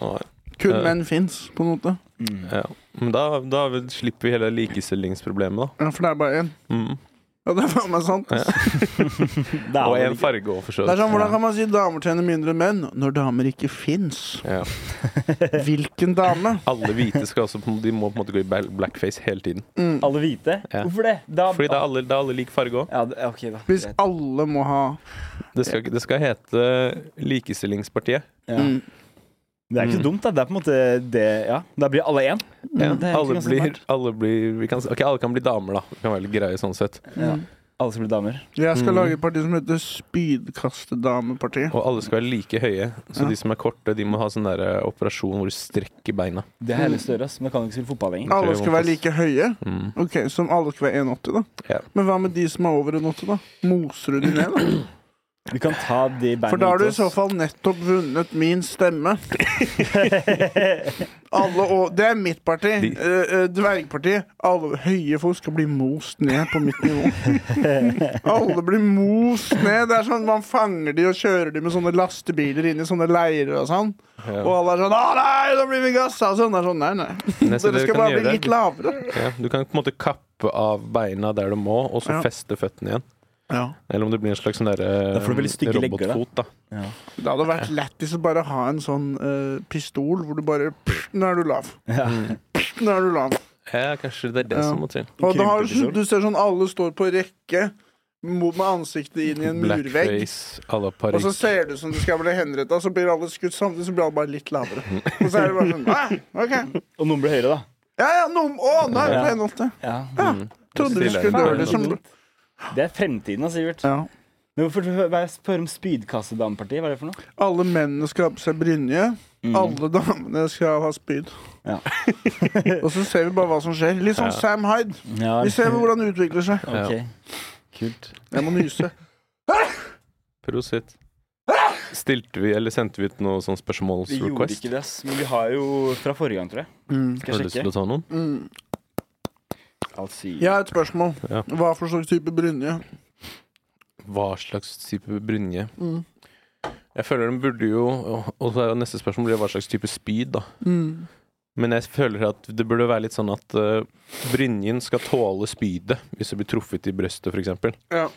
S3: Nei,
S2: Kun
S3: Eh.
S2: menn fins, på en måte.
S1: Mm.
S3: Ja. Men da, da vil- slipper vi hele likestillingsproblemet, da.
S2: Ja, for det er bare én.
S3: Mm.
S2: Ja, det er faen meg sant.
S3: Ja.
S1: Det er
S3: Og
S1: vel
S3: en
S1: ikke-
S3: farge òg, for så
S2: Det er
S3: vidt.
S2: sånn, Hvordan kan man si damer tjener mindre enn menn når damer ikke fins?
S3: Ja.
S2: Hvilken dame?
S3: Alle hvite skal også, på en måte- de må på en måte gå i bal- blackface hele tiden.
S2: Mm.
S1: Alle hvite?
S3: Ja.
S1: Hvorfor det? Da,
S3: Fordi det er alle, det er alle lik farge òg.
S1: ja, det, OK, da.
S2: Hvis
S1: Greit.
S2: alle må ha
S3: Det, skal ikke- det skal hete Likestillingspartiet.
S1: Ja.
S2: mm.
S1: Det er ikke så
S3: Mm.
S1: dumt, da. Det er på en måte det Ja, da blir alle én.
S3: Ja.
S1: Det er egentlig
S3: Alle,
S1: ganske
S3: blir,
S1: smart.
S3: alle blir vi kan, s- Ok, alle kan bli damer, da. Vi kan være litt greie sånn sett.
S1: Ja.
S2: Mm.
S1: Alle skal bli damer.
S2: Jeg skal
S3: Mm.
S2: lage et parti som heter Spydkastedamepartiet.
S3: Og alle skal være like høye. Så
S2: Ja.
S3: de som er korte, de må ha sånn der eh, operasjon hvor du strekker beina.
S1: Det har jeg
S2: Mm.
S1: lyst til å gjøre, ass, men jeg kan jo ikke spille fotball lenger.
S2: Alle skal være like høye.
S3: Mm.
S2: Ok, Som alle skal være 1,80, da.
S3: Ja.
S2: Men hva med de som er over 1,80, da? Moser du de ned, da?
S1: Vi kan ta de beina
S2: For da har
S1: ut
S2: du
S1: til
S2: i så
S1: oss.
S2: fall nettopp vunnet min stemme. Alle og, det er mitt parti.
S3: De-
S2: Eh, eh, dvergpartiet. Alle høye folk skal bli most ned på mitt nivå. Alle blir most ned. Det er sånn Man fanger de og kjører de med sånne lastebiler inn i sånne leirer og sånn. Og
S3: Ja.
S2: alle er sånn 'Å nei, da blir vi gassa!' Og sånn. Det er sånn, nei, nei.
S3: Neste
S2: Dere
S3: dere
S2: skal
S3: kan
S2: bare bli
S3: gjøre,
S2: litt lavere.
S3: ja, du kan på en måte kappe av beina der du må, og så
S2: Ja.
S3: feste føttene igjen.
S2: Ja.
S3: Eller om det blir en slags sånn der,
S1: Da får du veldig
S3: eh,
S1: stygge legger, da.
S3: robotfot. da
S1: Ja.
S2: Det hadde vært lættis å bare ha en sånn eh, pistol hvor du bare pff, 'Nå er du lav'.
S1: Ja.
S2: Pff, Nå er du lav.
S3: Ja, kanskje det er det
S2: Ja.
S3: som må til.
S2: Og da har du,
S1: Krympepistol.
S2: du ser sånn alle står på rekke mot- med ansiktet inn i en murvegg.
S3: Blackface, à la
S2: Og så
S3: Paris.
S2: ser det ut som du skal bli henretta, så blir alle skutt samtidig, så blir alle bare litt lavere. Og så er det bare sånn «Hæ? OK.
S1: Og noen blir høyere, da.
S2: Ja, ja, nå Å, nå er det på 1,80.
S1: Ja.
S2: Ja.
S3: Mm.
S2: Trodde vi
S3: Stille altså.
S2: skulle
S3: er
S2: gjøre
S3: det
S2: det som
S1: Det er fremtiden, da, Sivert.
S2: ja.
S1: Men hvorfor hva er- spør om spydkassedamepartiet? Hva er det for noe?
S2: Alle mennene skal ha på seg brynje.
S3: Mm.
S2: Alle damene skal ha spyd.
S1: Ja.
S2: og så ser vi bare hva som skjer. Litt sånn
S3: Ja.
S2: Sam Hyde.
S1: Mm. Ja,
S2: Vi ser hvordan det utvikler seg.
S1: Ah, Ok. Kult.
S2: Jeg må nyse.
S3: Prosit. Stilte vi, eller sendte vi ut noe
S1: Vi gjorde
S3: sånn
S1: ikke
S3: spørsmålsrequest?
S1: det, ass. Men vi har jo fra forrige gang, tror jeg.
S2: Mm.
S1: Skal
S3: Har du
S1: jeg
S3: lyst til
S1: sjekke?
S3: å ta noen?
S2: Mm.
S1: Altså,
S2: Jeg har et spørsmål.
S3: Ja.
S2: Hva for slags type brynje?
S3: Hva slags type brynje?
S2: Mm.
S3: Jeg føler den burde jo Og så er jo neste spørsmål blir hva slags type spyd, da.
S2: Mm.
S3: Men jeg føler at det burde være litt sånn at eh, brynjen skal tåle spydet hvis det blir truffet i brøstet, f.eks.
S2: Ja.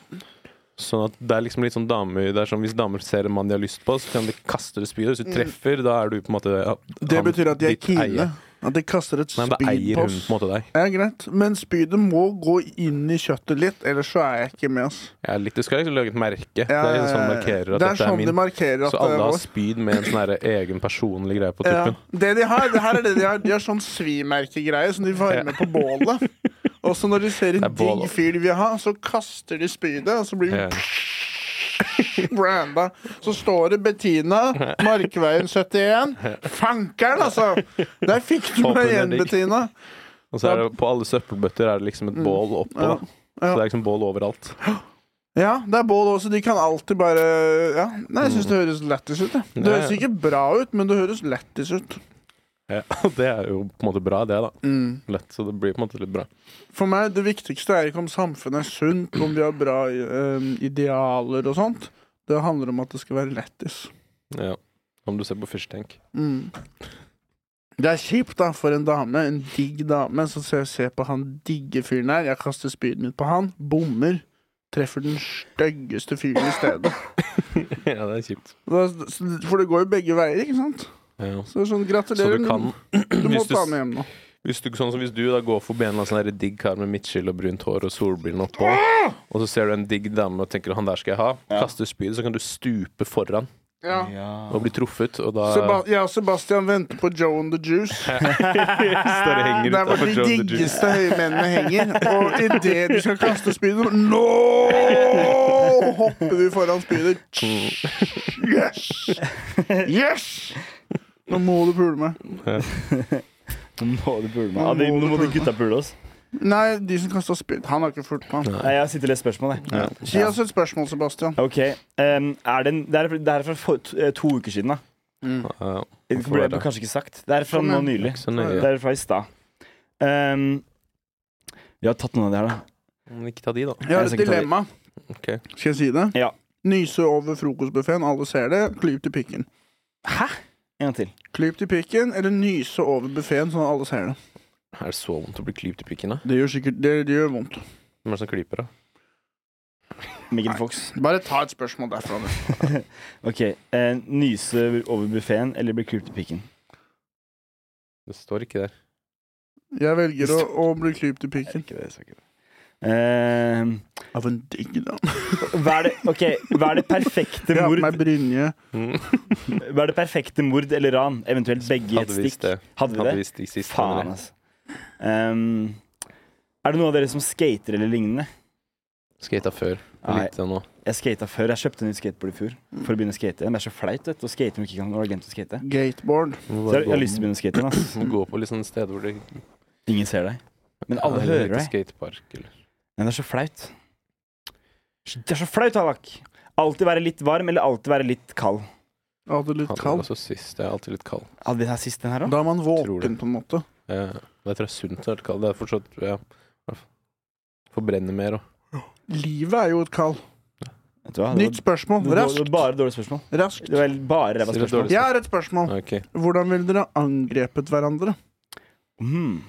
S3: Sånn at det er liksom litt sånn damer Det er sånn Hvis damer ser en mann de har lyst på, så kan de kaste det spydet. Hvis du treffer, da er du på en måte ja,
S2: Mm. Det
S3: han-
S2: betyr at de er
S3: ditt eie.
S2: kine. At de kaster et
S3: Nei, men
S2: spyd
S3: da eier
S2: på
S3: hun
S2: oss.
S3: på en måte deg.
S2: Ja, greit. Men spydet må gå inn i kjøttet litt, ellers så er jeg ikke med. Ass.
S3: Ja, litt, du skal liksom lage et merke.
S2: Ja,
S3: det
S2: ja,
S3: er liksom sånn
S2: ja.
S3: markerer at
S2: Det er
S3: dette
S2: sånn
S3: er min.
S2: de markerer at
S3: så alle
S2: det er
S3: har
S2: vår.
S3: spyd med en sånn her egen personlig greie på
S2: Ja.
S3: tuppen.
S2: Det de har, det her er det de har. De har sånn svimerkegreie som de varmer på bålet. Og så når de ser en
S3: Det er bål,
S2: digg
S3: da.
S2: fyr de vil ha, så kaster de spydet, og så blir
S3: Ja.
S2: vi branda. Så står det Bettina, Markveien 71. Fankeren, altså! Der fikk du
S3: Håper
S2: meg
S3: det er
S2: igjen,
S3: digg.
S2: Bettina.
S3: Og så er det på alle søppelbøtter er det liksom et bål oppå,
S2: Mm. Ja.
S3: da. Så det er liksom bål overalt.
S2: Ja, det er bål også. De kan alltid bare ja. Nei, jeg syns det høres lættis ut. jeg. Det
S3: Ja,
S2: høres
S3: ja.
S2: ikke bra ut, men det høres lættis ut.
S3: Ja. Og det er jo på en måte bra, det, da.
S2: Mm.
S3: Lett, så det blir på en måte litt bra.
S2: For meg, det viktigste er ikke om samfunnet er sunt, om vi har bra eh, idealer og sånt. Det handler om at det skal være lættis.
S3: Ja. Om du ser på Fish Tank.
S2: Mm. Det er kjipt, da, for en dame, en digg dame, som ser, ser på han digge fyren her. Jeg kaster spydet mitt på han, bommer. Treffer den styggeste fyren i stedet.
S3: ja, det er kjipt.
S2: Da- For det går jo begge veier, ikke sant?
S3: Ja. altså.
S2: Så sånn,
S3: Så
S2: gratulerer.
S3: du kan
S2: du må
S3: hvis du,
S2: ta med hjem nå.
S3: hvis du, sånn som hvis du da går forbi en eller annen sånn her digg kar med midtskill og brunt hår og solbrillene oppå,
S2: Ah!
S3: og så ser du en digg dame og tenker 'han der skal jeg ha',
S1: Ja.
S3: kaster spydet, så kan du stupe foran
S2: Ja.
S3: og bli truffet, og da
S2: Seba jeg og Sebastian venter på Joe and the Juice.
S3: står og henger
S2: Ah, Der hvor
S3: utenfor
S2: de
S3: John the Juice.
S2: diggeste høymennene henger. Og idet de skal kaste spydet Nå hopper vi foran spydet. Yes! Yes! Nå må du pule meg.
S1: Nå må du pule meg. Ja, de, nå må de gutta pule oss.
S2: Nei, de som kasta spyd. Han har ikke fulgt med.
S1: Nei, jeg sitter og leser spørsmål, jeg.
S3: Ja.
S2: Gi oss et spørsmål, Sebastian.
S1: Ok. em, er det, en, det, er, det er fra for, to, eh, to uker siden, da.
S2: Mm.
S3: Ja,
S1: Det
S3: får
S1: ble
S3: være.
S1: kanskje ikke sagt. Det er fra
S2: Sånn,
S1: nå
S2: ja.
S1: nylig.
S3: ikke så
S1: Det
S3: nøye.
S1: er fra i stad. Ehm, vi har tatt noen av de her, da.
S3: Men ikke ta de, da.
S2: Jeg har
S1: Jeg
S2: et
S1: skal ikke ta det.
S2: dilemma.
S3: Ok.
S2: Skal jeg si det?
S1: Ja.
S2: Nyse over frokostbuffeen, alle ser det. Klyp til pikken.
S1: En gang til.
S2: Klyp til pikken, eller nyse over buffeen, sånn at alle ser det.
S3: Er det så vondt å bli klypt i pikken, da?
S2: Det gjør sikkert det, det gjør vondt.
S3: Hvem er det som klyper, da?
S1: Megan
S2: Nei.
S1: Fox.
S2: Bare ta et spørsmål derfra. du.
S1: Ok. eh, nyse over buffeen eller bli klipt i pikken?
S3: Det står ikke der.
S2: Jeg velger å, å bli klypt i pikken.
S1: Ikke det, så ikke det. Ehm,
S2: Av en digg dame.
S1: hva, er det, ok, hva er det perfekte
S2: Jeg har på
S1: mord
S2: meg brynje.
S1: Hva er det perfekte mord eller ran? Eventuelt begge i et
S3: Hadde visst
S1: stikk.
S3: det.
S1: Hadde vi
S3: Hadde
S1: det?
S3: visst det sist.
S1: Faen,
S3: Henrik.
S1: altså. Ehm, er det noen av dere som skater eller lignende?
S3: Skata før.
S1: altså. Nei.
S3: Litt nå.
S1: Jeg skata før. Jeg kjøpte en ny skateboard i fjor for å begynne å skate. Men det er så flaut vet du, å skate når du ikke kan når du har glemt å skate.
S2: Gateboard.
S1: Så jeg, jeg har lyst til å begynne å skate. Altså.
S3: Må gå på litt sånne steder hvor det
S1: Ingen ser deg. Men alle
S3: Ja, eller
S1: hører
S3: litt
S1: deg.
S3: Skatepark, eller
S1: Men det er så flaut. Det er så flaut, Havak. Alltid være litt varm eller alltid være litt kald.
S2: Jeg hadde litt
S3: Hadde
S2: kald.
S3: også sist. Jeg er alltid litt kald.
S1: Hadde vi den her sist, den her òg?
S2: Da er man
S3: Tror
S2: våken,
S3: det.
S2: på en måte.
S3: Eh, men jeg tror det er sunt å være litt kald. Det er fortsatt ja, i hvert fall. Forbrenne mer og
S2: Livet er jo et kall.
S1: Vet du hva? Det var-
S2: Nytt spørsmål.
S1: det var- det var
S2: Raskt.
S1: Bare dårlige spørsmål.
S2: Raskt.
S1: Det var bare ræva
S3: Sier du
S1: spørsmål.
S3: dårlig?
S2: Jeg har et spørsmål.
S3: OK.
S2: Hvordan ville dere angrepet hverandre?
S1: Mm.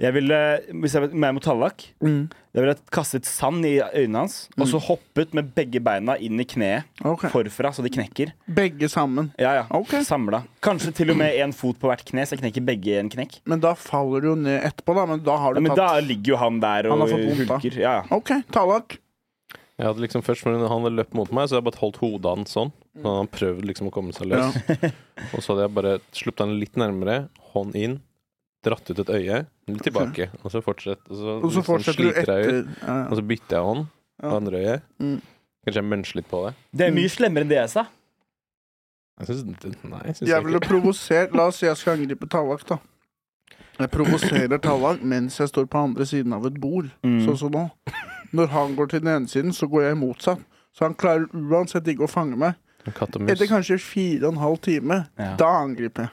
S1: Jeg ville, hvis jeg, om jeg mot Tallak, jeg ville kastet sand i øynene hans, og
S2: Mm.
S1: så hoppet med begge beina inn i kneet
S2: Ok.
S1: forfra, så de knekker.
S2: Begge sammen.
S1: Ja, ja.
S2: Ok.
S1: Samla. Kanskje til og med én fot på hvert kne, så jeg knekker begge i en knekk.
S2: Men da faller du jo ned etterpå, da. Men da har
S1: Ja,
S2: du
S1: men da
S2: tatt
S1: ligger jo han der
S2: Han
S1: og
S2: har fått vondt, da.
S1: hulker. Ja, ja.
S2: OK, Tallak.
S3: Jeg hadde liksom først når han hadde løpt mot meg, så hadde jeg bare holdt hodet hans sånn. Så han prøvde liksom å komme seg
S2: Mm. Ja.
S3: løs. Og så hadde jeg bare sluppet han litt nærmere, hånd inn, dratt ut et øye, litt tilbake, og så fortsett. Og så,
S2: Og så
S3: liksom
S2: fortsetter du
S3: sliter jeg
S2: etter.
S3: ut,
S2: Ja, ja.
S3: Og så bytter jeg hånd på
S2: Ja.
S3: andre øyet.
S2: Mm.
S3: Kanskje jeg muncher litt på det.
S1: Det er mye slemmere enn det jeg sa.
S3: Jeg synes, nei, jeg synes
S2: Jeg ville
S3: ikke.
S2: provosert La oss si jeg skal angripe Tallak, da. Jeg provoserer Tallak mens jeg står på andre siden av et bord,
S3: Mm.
S1: Mm.
S2: sånn som nå. Når han går til den ene siden, så går jeg motsatt. Så han klarer uansett ikke å fange meg.
S3: Katt og mus.
S2: Etter kanskje fire og en halv time,
S1: Ja.
S2: da angriper jeg.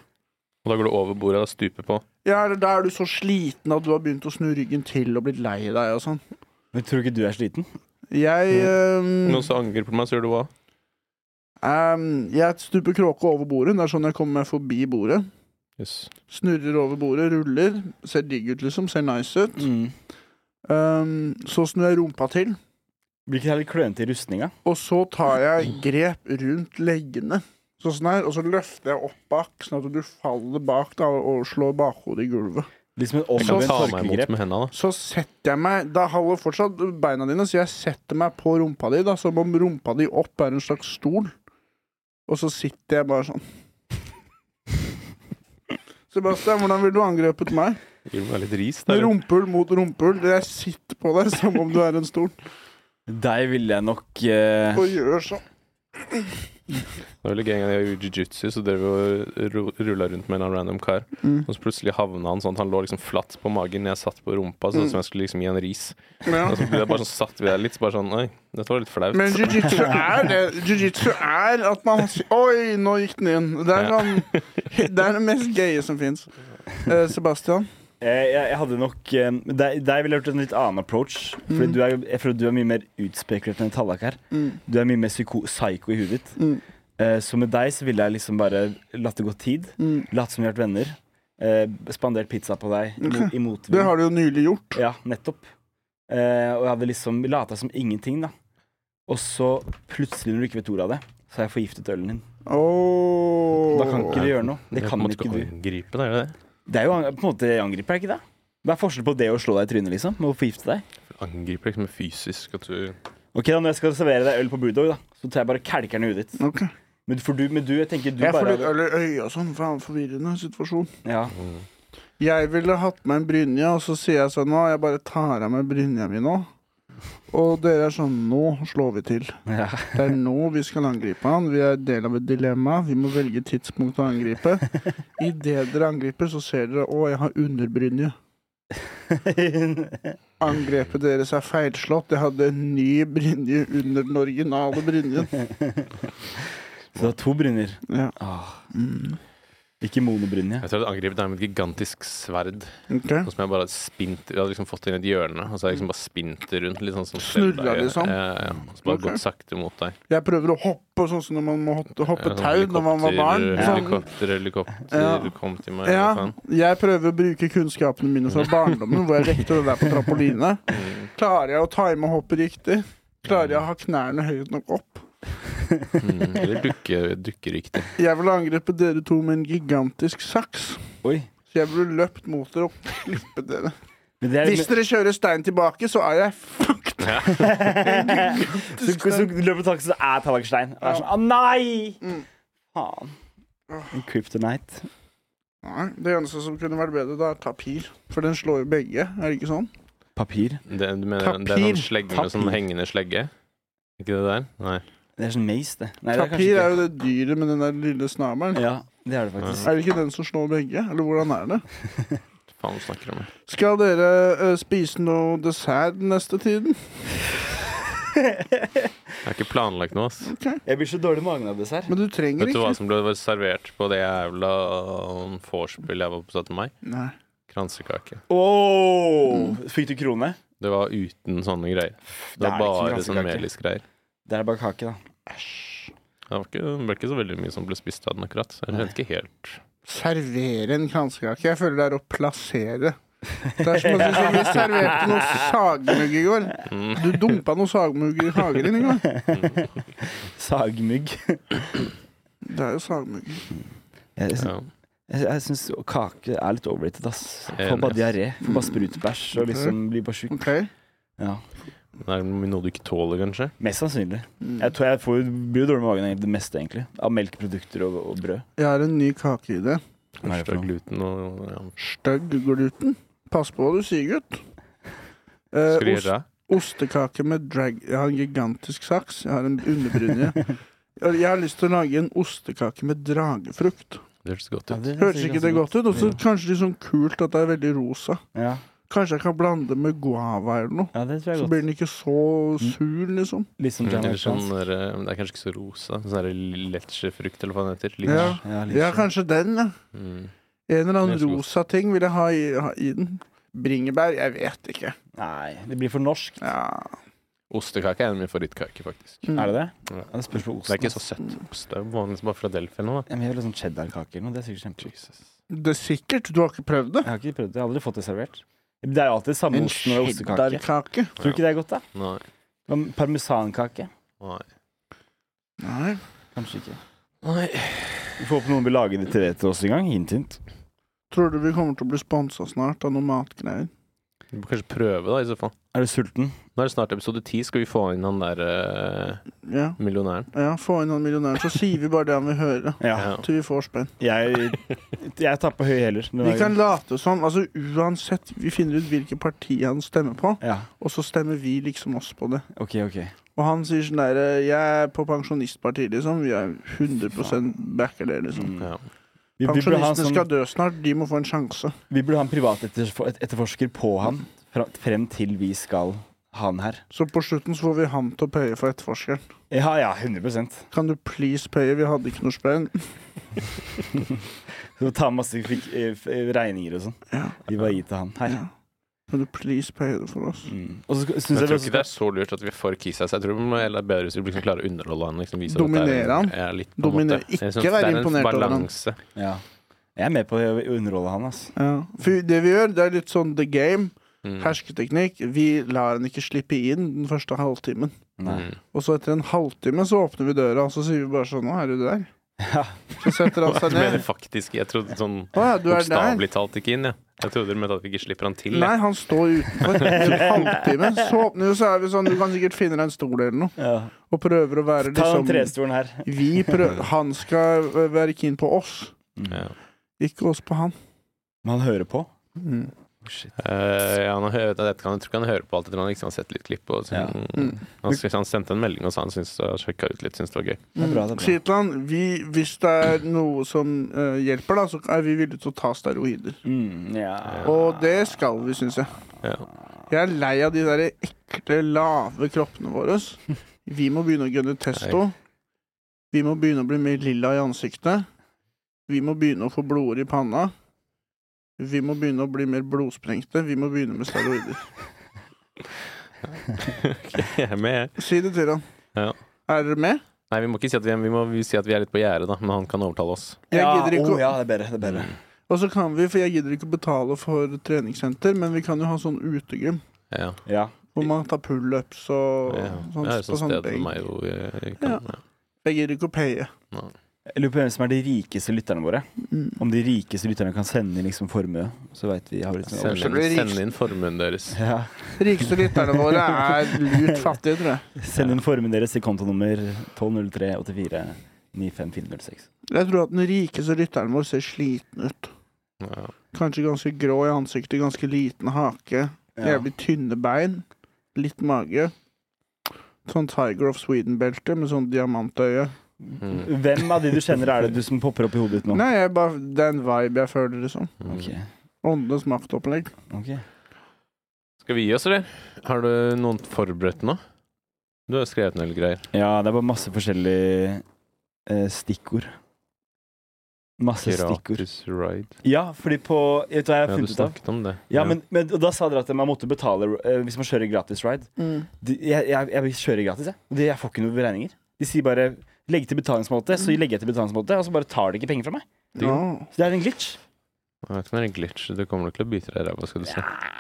S3: Og da går du over bordet og stuper på.
S2: Ja, eller da er du så sliten at du har begynt å snu ryggen til og blitt lei deg og sånn.
S1: Men tror du ikke du er sliten?
S2: Jeg
S3: Mm.
S2: ehm,
S3: Noen som angriper meg, så gjør du hva?
S2: ehm, Jeg stuper kråke over bordet. Det er sånn jeg kommer meg forbi bordet.
S3: Yes.
S2: Snurrer over bordet, ruller. Ser digg ut, liksom. Ser nice ut. Ehm, så snur jeg rumpa til.
S1: Blir ikke det her litt klønete i rustninga?
S2: Og så tar jeg grep rundt leggene, sånn sånn her, og så løfter jeg opp bak, sånn at du faller bak da, og slår bakhodet i gulvet.
S1: Litt som en
S3: Jeg
S1: omvendt
S3: kan ta meg imot
S1: tolkegrep.
S3: med hendene, da.
S2: Så setter jeg meg Da holder fortsatt beina dine, så jeg setter meg på rumpa di, da, som om rumpa di opp er en slags stol. Og så sitter jeg bare sånn. Sebastian, hvordan ville du angrepet meg?
S3: Gir du meg litt ris?
S2: Med
S3: Der.
S2: rumpehull mot rumpehull. Jeg sitter på deg som om du er en stol,
S1: Deg ville jeg nok eh,
S2: og gjør sånn.
S3: Det var veldig gøy en gang jeg gjorde jiu-jitsu, så drev vi og rulla rundt med en eller annen random kar.
S2: Mm.
S3: Og så plutselig havna han sånn at han lå liksom flatt på magen når jeg satt på rumpa, sånn
S2: Mm.
S3: som jeg skulle liksom gi han ris.
S2: Ja.
S3: Og så ble jeg bare sånn satt ved der litt, så bare sånn Oi, dette var litt flaut.
S2: Men jiu-jitsu er det. Jiu-jitsu er at man sier Oi, nå gikk den inn. Det er, sånn, det er det mest gøye som fins. Eh, Sebastian,
S1: Jeg, jeg, jeg hadde nok eh, Deg deg ville jeg gjort en litt annen approach. Fordi
S2: Mm.
S1: du er, jeg føler at du er mye mer utspekulert enn Tallak her. Du er mye mer psyko, psycho i huet ditt.
S2: Mm.
S1: Eh, så med deg så ville jeg liksom bare latt det gå tid.
S2: Mm.
S1: Latt som vi har vært venner. Eh, spandert pizza på deg imot, i
S2: det
S1: motvind.
S2: har du jo nylig gjort.
S1: Ja, nettopp. Eh, og jeg hadde liksom lata som ingenting, da. Og så plutselig, når du ikke vet ordet av det, så har jeg forgiftet ølen din.
S2: Åh.
S1: Da kan ikke du gjøre noe. Det kan ikke du.
S3: Angripe, det er jo det.
S1: Det er jo an- på en måte angriper, er ikke det? Hva er forskjellen på det og slå deg i trynet, liksom? Med å forgifte deg?
S3: Angripe liksom fysisk at du
S1: Ok, da Når jeg skal servere deg øl på Brewdog, da, så tar jeg bare kalker'n i huet ditt.
S2: Ok.
S1: Men for du, men du, jeg tenker du
S2: Jeg får
S1: bare
S2: litt øl i øyet og sånn. Faen, forvirrende situasjon.
S1: Ja.
S3: Mm.
S2: Jeg ville hatt med en brynje, og så sier jeg sånn Nå, jeg bare tar av meg brynja mi nå. Og dere er sånn Nå slår vi til.
S1: ja.
S2: Det er nå vi skal angripe han. Vi er del av et dilemma. Vi må velge tidspunkt å angripe. Idet dere angriper, så ser dere å, jeg har underbrynje. Angrepet deres er feilslått. Jeg hadde en ny brynje under den originale brynjen.
S1: Så det var to brynjer.
S2: Ja.
S1: Åh,
S2: Mm.
S1: ikke monobrynje.
S3: Jeg tror jeg hadde angrepet deg med et gigantisk sverd.
S2: Ok.
S3: Noe som jeg bare hadde spint Jeg hadde liksom fått det inn i et hjørne, og så hadde jeg liksom bare spint det rundt. Litt sånn som
S2: Snurret
S3: Zelda gjør.
S2: liksom?
S3: Ja, ja, ja. Og så bare
S2: Ok.
S3: gått sakte mot deg.
S2: Jeg prøver å hoppe sånn som når man må hoppe, hoppe
S3: Ja, sånn
S2: tau når man var barn.
S3: helikopter, eh,
S2: Sånn.
S3: Helikopter, helikopter,
S2: Ja.
S3: kom til meg.
S2: Ja,
S3: hva faen.
S2: jeg prøver å bruke kunnskapene mine fra barndommen, hvor jeg rekte det der på trampoline.
S3: Mm,
S2: Klarer jeg å time hoppet riktig? Klarer jeg å ha knærne høyt nok opp?
S3: mm. Eller dukke, dukke riktig.
S2: Jeg ville angrepet dere to med en gigantisk saks.
S1: Oi.
S2: Så jeg ville løpt mot dere og klippet dere.
S1: Men det er,
S2: Hvis dere kjører stein tilbake, så er jeg fucked.
S1: så, så du løper tak, så er tallakstein. Og det er sånn Å, nei!
S2: Mm.
S1: Faen. En kryptonite.
S2: Nei, det eneste som kunne vært bedre, da er tapir. For den slår jo begge, er det ikke sånn?
S1: Papir.
S3: Det, du mener, det er sånn slegge med sånn
S1: Tapir.
S3: hengende slegge? Ikke det der? Nei.
S1: Det er sånn maze, det. Nei, det er kanskje
S2: Tapir
S1: ikke-
S2: er jo det dyret med den der lille snabelen.
S1: Ja, det er det faktisk.
S2: Er det ikke den som slår begge? Eller hvordan er det?
S3: Faen, du snakker om
S2: Skal dere eh, spise noe dessert den neste tiden?
S3: Jeg har ikke planlagt noe, ass.
S1: Jeg blir så dårlig i magen av dessert.
S2: Men du trenger
S3: Vet du
S2: ikke.
S3: hva som ble servert på det jævla vorspielet jeg var på 17. mai?
S2: Nei.
S3: Kransekake.
S1: Åh, Fikk du krone?
S3: Det var uten sånne greier. Det
S1: er
S3: var bare
S1: ikke
S3: sånn
S1: kransekake.
S3: melisgreier.
S1: Det er bare kake, da.
S3: Det var ikke, det ble ikke så veldig mye som ble spist av den akkurat. Så jeg vet ikke helt
S2: Servere en kransekake. Jeg føler det er å plassere. Det er som å si vi serverte noe sagmugg i går.
S3: mm.
S2: Du dumpa noe sagmugg i hagen din i går.
S1: Sagmugg.
S2: Det er jo sagmugg.
S1: Jeg,
S3: ja.
S1: jeg, jeg syns kake er litt overrated, ass. Får
S3: Enig,
S1: bare
S3: ass.
S1: diaré. Får bare sprutbæsj og
S2: Mm.
S1: liksom blir bare sjuk.
S2: OK?
S1: Ja.
S3: Det er noe du ikke tåler, kanskje?
S1: Mest sannsynlig.
S2: Mm.
S1: Jeg tror jeg får, blir jo dårlig i magen av det meste, egentlig. Av melkeprodukter og, og brød.
S2: Jeg har en ny kakeidé.
S1: Hva er det for
S3: Kanskje
S1: noe?
S3: gluten og ja.
S2: Stygg gluten. Pass på hva du sier, gutt. Eh,
S3: Skal
S2: ost-
S3: du gjøre det?
S2: Ostekake med drag... Jeg har en gigantisk saks. Jeg har en underbrynje. Og Jeg har lyst til å lage en ostekake med dragefrukt.
S3: Det høres godt
S1: Ja,
S3: ut.
S1: det
S2: Høres ikke det godt ut? Og så
S1: Ja.
S2: kanskje litt sånn kult at det er veldig rosa.
S1: Ja.
S2: Kanskje jeg kan blande det med guava eller noe.
S1: ja, det tror jeg er
S2: Så blir
S1: godt. Mm.
S2: den ikke så sur, liksom.
S1: Litt som
S3: Mm,
S1: jam
S3: Eller sånn
S1: Afghans.
S3: der, eh, Det er kanskje ikke så rosa. Sånn der leche-frukt, eller hva den heter. Lyse.
S2: Ja.
S1: Ja, litt
S2: Ja,
S1: sånn.
S2: kanskje den, ja.
S3: Mm.
S2: En eller annen
S3: Det er så godt.
S2: rosa ting vil jeg ha i, ha i den. Bringebær? Jeg vet ikke.
S1: Nei, det blir for norsk.
S2: Ja.
S3: Ostekake er en av mine favorittkaker, faktisk.
S2: Mm.
S1: Er det det?
S3: Ja.
S1: Ja, det spørs på osten.
S3: Det er ikke
S1: ass.
S3: så søtt ost. Det er vanligvis bare Philadelphia nå, da.
S1: Ja, men Jeg vil ha sånn cheddarkake eller noe. Det er sikkert kjempegodt.
S3: Jesus.
S2: Det er sikkert. Du har ikke prøvd det?
S1: Jeg har ikke prøvd det. Jeg har aldri fått det servert. Det er jo alltid samme
S2: En
S1: osten og ostekake.
S2: cheddarkake?
S1: Tror du ikke det er godt, da?
S3: Nei.
S1: Hva med Parmesankake?
S3: Nei.
S2: Nei.
S1: Kanskje ikke.
S3: Nei.
S1: Vi får håpe noen vil lage det til det til oss en gang. Hint, hint.
S2: Tror du vi kommer til å bli sponsa snart av noen matgreier?
S3: Du må kanskje prøve, da, i så fall.
S1: Er du sulten?
S3: Nå er det snart episode ti. Skal vi få inn han der eh,
S2: Ja.
S3: millionæren?
S2: ja, få inn han millionæren, så sier vi bare det han vil høre.
S1: Ja.
S2: Til vi får spenn.
S1: Jeg, jeg tar på høy hæler. denne
S2: Vi kan
S1: gangen.
S2: late som. altså Uansett, vi finner ut hvilket parti han stemmer på,
S1: Ja,
S2: og så stemmer vi liksom oss på det.
S1: OK, OK.
S2: Og han sier sånn derre Jeg er på pensjonistpartiet, liksom. Vi er 100 backer det, liksom.
S1: Mm.
S3: Ja.
S1: Vi, vi, burde ha en
S2: Pensjonistene
S1: sånn,
S2: skal dø snart. De må få en sjanse.
S1: vi burde ha en privat etterfor, etterforsker på han fra, frem til vi skal ha han her.
S2: Så på slutten så får vi han til å paye for etterforskeren.
S1: Ja, ja, 100
S2: Kan du please paye? Vi hadde ikke noe spenn.
S1: Så ta masse fik, eh, f- eh, regninger og sånn.
S2: Ja.
S1: Vi bare gir til han. Her.
S2: Ja. Kan du please paye det for oss?
S1: Mm. Og så skal-
S3: Men
S1: synes
S3: Jeg
S1: jeg vi
S3: tror
S1: også
S3: ikke det er så lurt at vi får kissa seg. Jeg tror det er bedre hvis vi liksom klarer å underholde han. Liksom vise at
S2: Dominere
S3: det er en-
S2: han.
S3: Ja, litt, på en
S2: Dominere.
S3: måte. Jeg
S2: Ikke
S3: synes det
S2: være
S3: er en
S2: imponert over han.
S3: balanse.
S1: Ja. Jeg er med på å underholde han, ass.
S2: Ja. For det vi gjør, det er litt sånn the game.
S3: Mm.
S2: Hersketeknikk. Vi lar han ikke slippe inn den første halvtimen.
S1: Nei.
S3: Mm.
S2: Og så etter en halvtime så åpner vi døra, og så sier vi bare sånn Nå er du der.
S1: Ja.
S2: Så setter han
S3: Hva,
S2: seg
S3: Du mener
S2: ned.
S3: faktisk Jeg trodde sånn
S2: Å ja, du er der.
S3: bokstavelig talt ikke inn, ja. Jeg trodde du mente at vi ikke slipper han til.
S2: Nei,
S3: jeg.
S2: han står utenfor i en halvtime. Så åpner vi, så er vi sånn Du kan sikkert finne deg en stol eller noe.
S1: Ja.
S2: Og prøver å være
S1: Ta den
S2: liksom
S1: trestolen her.
S2: Vi prøver Han skal øh, være keen på oss,
S3: Ja.
S1: Oh,
S2: ikke oss på han.
S1: Men han hører på.
S2: Mm.
S3: Eh, ja, han hører, jeg, kan, jeg tror ikke han hører på alt etter han liksom har sett litt klipp. Og, så,
S1: Ja.
S2: Mm.
S3: han, sy- han sendte en melding og sa han syntes han sjekka ut litt, syntes det var gøy.
S1: Det er bra, det er bra.
S2: Si til han vi, hvis det er noe som øh, hjelper, da, så er vi villige til å ta steroider.
S1: Mm, ja.
S2: Og det skal vi, syns jeg.
S3: Ja.
S2: Jeg er lei av de der ekle, lave kroppene våre. Vi må begynne å gunne testo. Vi må begynne å bli mer lilla i ansiktet. Vi må begynne å få blodår i panna. Vi må begynne å bli mer blodsprengte. Vi må begynne med steroider.
S3: Jeg er med, jeg.
S2: Si det til han.
S3: Ja.
S2: Er dere med?
S3: Nei, vi må ikke si at vi er Vi må si at vi er litt på gjerdet, da, men han kan overtale oss.
S2: Jeg gidder ikke
S1: å
S2: å
S1: Ja, det er bedre. Det er bedre.
S3: Mm.
S2: Og så kan vi, for jeg gidder ikke å betale for treningssenter, men vi kan jo ha sånn utegym.
S3: Mm. Ja.
S1: Ja.
S2: Hvor man tar pullups og
S3: ja.
S2: sånt.
S3: Det
S2: på
S3: er et sånt
S2: sånne
S3: sted
S2: beng.
S3: for meg jo jeg kan,
S2: Ja. Jeg gidder ikke å paye.
S1: Jeg lurer på hvem som er de rikeste lytterne våre.
S2: Mm.
S1: Om de rikeste lytterne kan sende inn liksom formue, så veit vi har litt mer
S3: Send,
S1: oversikt.
S3: inn, send inn formuen deres.
S1: Ja.
S2: Rikeste lytterne våre er lurt fattige, tror jeg.
S1: Send inn formuen deres til kontonummer 120384950406.
S2: Jeg tror at den rikeste lytteren vår ser sliten ut.
S3: Ja.
S2: Kanskje ganske grå i ansiktet, ganske liten hake, jævlig tynne bein, litt mage. Sånn Tiger of Sweden-belte med sånn diamantøye.
S3: Mm.
S1: Hvem av de du kjenner er det du som popper opp i hodet ditt nå?
S2: Nei, jeg bare, det er en vibe jeg føler, liksom.
S3: Mm.
S1: Ok,
S2: Åndenes maktopplegg.
S1: ok.
S3: Skal vi gi oss, eller? Har du noen forberedt noe? Du har skrevet noen greier.
S1: Ja, det er bare masse forskjellige eh, stikkord. Masse stikkord.
S3: Gratis ride.
S1: Ja, fordi på Vet du hva jeg har
S3: Ja, du
S1: funnet ut av?
S3: snakket om det.
S1: Ja, men, men og da sa dere at man måtte betale eh, hvis man kjører gratis ride.
S2: Mm.
S1: De, jeg, jeg, jeg kjører gratis, jeg. De, jeg får ikke noen beregninger. De sier bare 'legg til betalingsmåte', så legger jeg til betalingsmåte, og så bare tar de ikke penger fra meg.
S2: Ja.
S1: Så det er en glitch.
S3: Det er ikke noe sånn glitch. Du kommer nok til å bite deg i ræva, skal du se.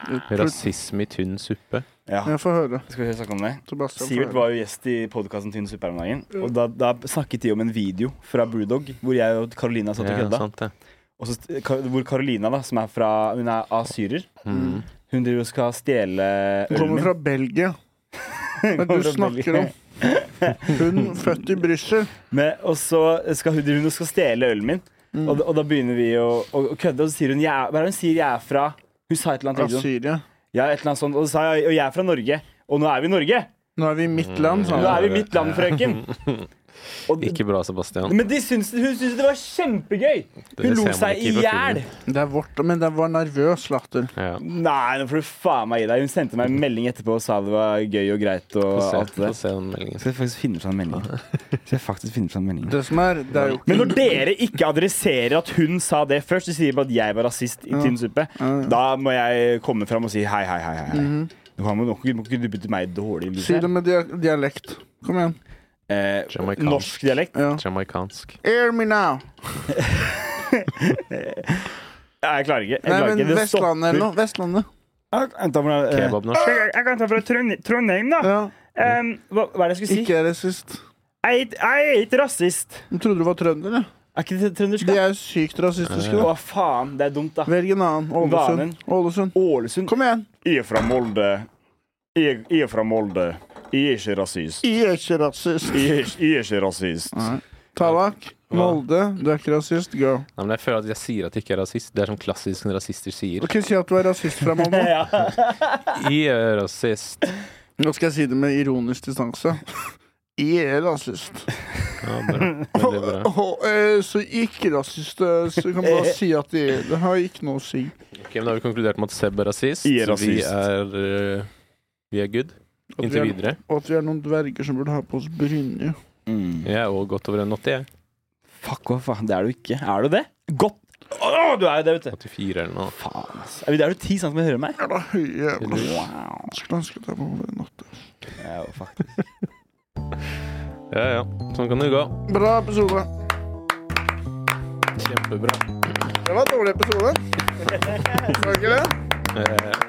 S2: Jeg
S3: Rasisme i tynn suppe.
S1: Ja,
S2: får høre.
S1: Skal vi snakke om det?
S2: Sebastian Sånn får
S1: Sivert
S2: høre.
S1: var jo gjest i podkasten Tynn suppe her om dagen. Og da, da snakket de om en video fra Brewdog hvor jeg og Carolina satt og
S3: Ja,
S1: kødda.
S3: sant det.
S1: Og så, st- Ka- hvor Carolina, da, som er fra Hun er asyrer,
S3: Mm.
S1: hun driver og skal stjele
S2: Hun
S1: ølen
S2: kommer
S1: min.
S2: fra Belgia. Men
S1: Kommer
S2: du
S1: fra
S2: snakker om
S1: Belgia.
S2: Hun født i Brussel.
S1: Men, og så skal hun, hun skal stjele ølen min,
S3: Mm.
S1: og, da- og da begynner vi å, å, å kødde. Og så sier hun jeg, er- Hva er det hun sier jeg er fra? Hun sa et eller
S2: Fra
S1: annet. sånn,
S2: Syria.
S1: Ja, et eller annet sånt. Og så sa jeg og jeg er fra Norge. Og nå er vi i Norge!
S2: Nå Mm. er vi i mitt land, sa
S1: Nå
S2: han.
S1: er vi i mitt land, frøken! Og,
S3: Ikke bra, Sebastian.
S1: men de syns, hun syntes det var kjempegøy!
S3: Det
S1: Hun
S3: ser
S1: lo
S3: man
S1: seg
S3: ikke
S1: i
S3: på
S1: hjel!
S3: filmen.
S2: Det er vårt, men den var nervøs latter.
S3: Ja.
S1: Nei, nå får du faen meg gi deg. Hun sendte meg en melding etterpå og sa det var gøy og greit. og
S3: Få se,
S1: alt det
S3: få
S1: der.
S3: se den meldingen.
S1: Skal jeg faktisk finne fram meldingen? Skal jeg faktisk finne fram meldingen?
S2: Det som er, det er jo ikke
S1: Men når dere ikke adresserer at hun sa det først, og sier bare at jeg var rasist i Tynn suppe, da må jeg komme fram og si hei, hei, hei. hei.
S2: Mhm.
S1: Du kan- må nok- må ikke du putte meg dårlig i lys
S2: Si
S1: her.
S2: det med dia- dialekt. Kom igjen.
S1: Eh,
S3: Jamaicansk.
S1: norsk dialekt?
S2: Ja.
S3: Jamaicansk.
S2: Air me now!
S1: Nei, Jeg klarer ikke. Jeg
S2: Nei,
S1: klarer
S2: men
S1: ikke. Det
S2: Vestlandet eller noe. Vestlandet.
S1: stopper.
S3: Kebabnorsk.
S1: eh, Jeg kan ta fra Trondheim, da.
S2: Ja.
S1: hva, er det jeg skulle si?
S2: Ikke er rasist.
S1: Jeg er ikke rasist.
S2: Du trodde du var trønder, ja.
S1: Er ikke det trøndersk?
S2: De
S1: da?
S2: er jo sykt rasistiske. da.
S1: Å, faen. Det er dumt, da.
S2: Velg en annen. Ålesund. Ålesund.
S1: Ålesund.
S2: Kom igjen.
S1: Jeg er fra Molde. Jeg jeg er fra Molde. Jeg er ikke rasist.
S2: Jeg er ikke rasist.
S1: Jeg er ikke- jeg er ikke E rasist.
S2: Nei. Tallak, Molde, du er ikke rasist. Go.
S3: Nei, men jeg føler at jeg sier at jeg ikke er rasist. Det er sånn klassisk en rasister sier.
S2: Ok, Si at du er rasist fra Molde.
S1: Ja.
S3: Jeg er rasist.
S2: Nå skal jeg si det med ironisk distanse. Jeg er rasist.
S3: Ja, bra. Veldig bra.
S2: Og, eh, Så ikke-rasist eh, så kan bare si at de er det. har ikke noe å si.
S3: Ok, men da har vi konkludert med at Seb er rasist.
S1: Jeg er
S3: så Vi
S1: rasist.
S3: er, eh, vi er good
S2: At vi
S3: inntil
S2: er,
S3: videre.
S2: og at vi er noen dverger som burde ha på oss brynje.
S1: Mm.
S3: Jeg er òg godt over en 80, jeg.
S1: Fuck, hva faen? Det er du ikke. Er du det? Godt. Å, du er jo det, vet du.
S3: 84 eller noe.
S1: Faen, ass. Er du- Det er jo ti centimeter høyere enn meg.
S2: Er det høye jævla
S1: Wow.
S2: Skulle ønske at jeg var over en natt.
S1: Ja, fuck.
S3: Ja, ja. Sånn kan det gå.
S2: Bra episode.
S3: Kjempebra.
S2: Det var en dårlig episode. Var det ikke det?
S3: Eh,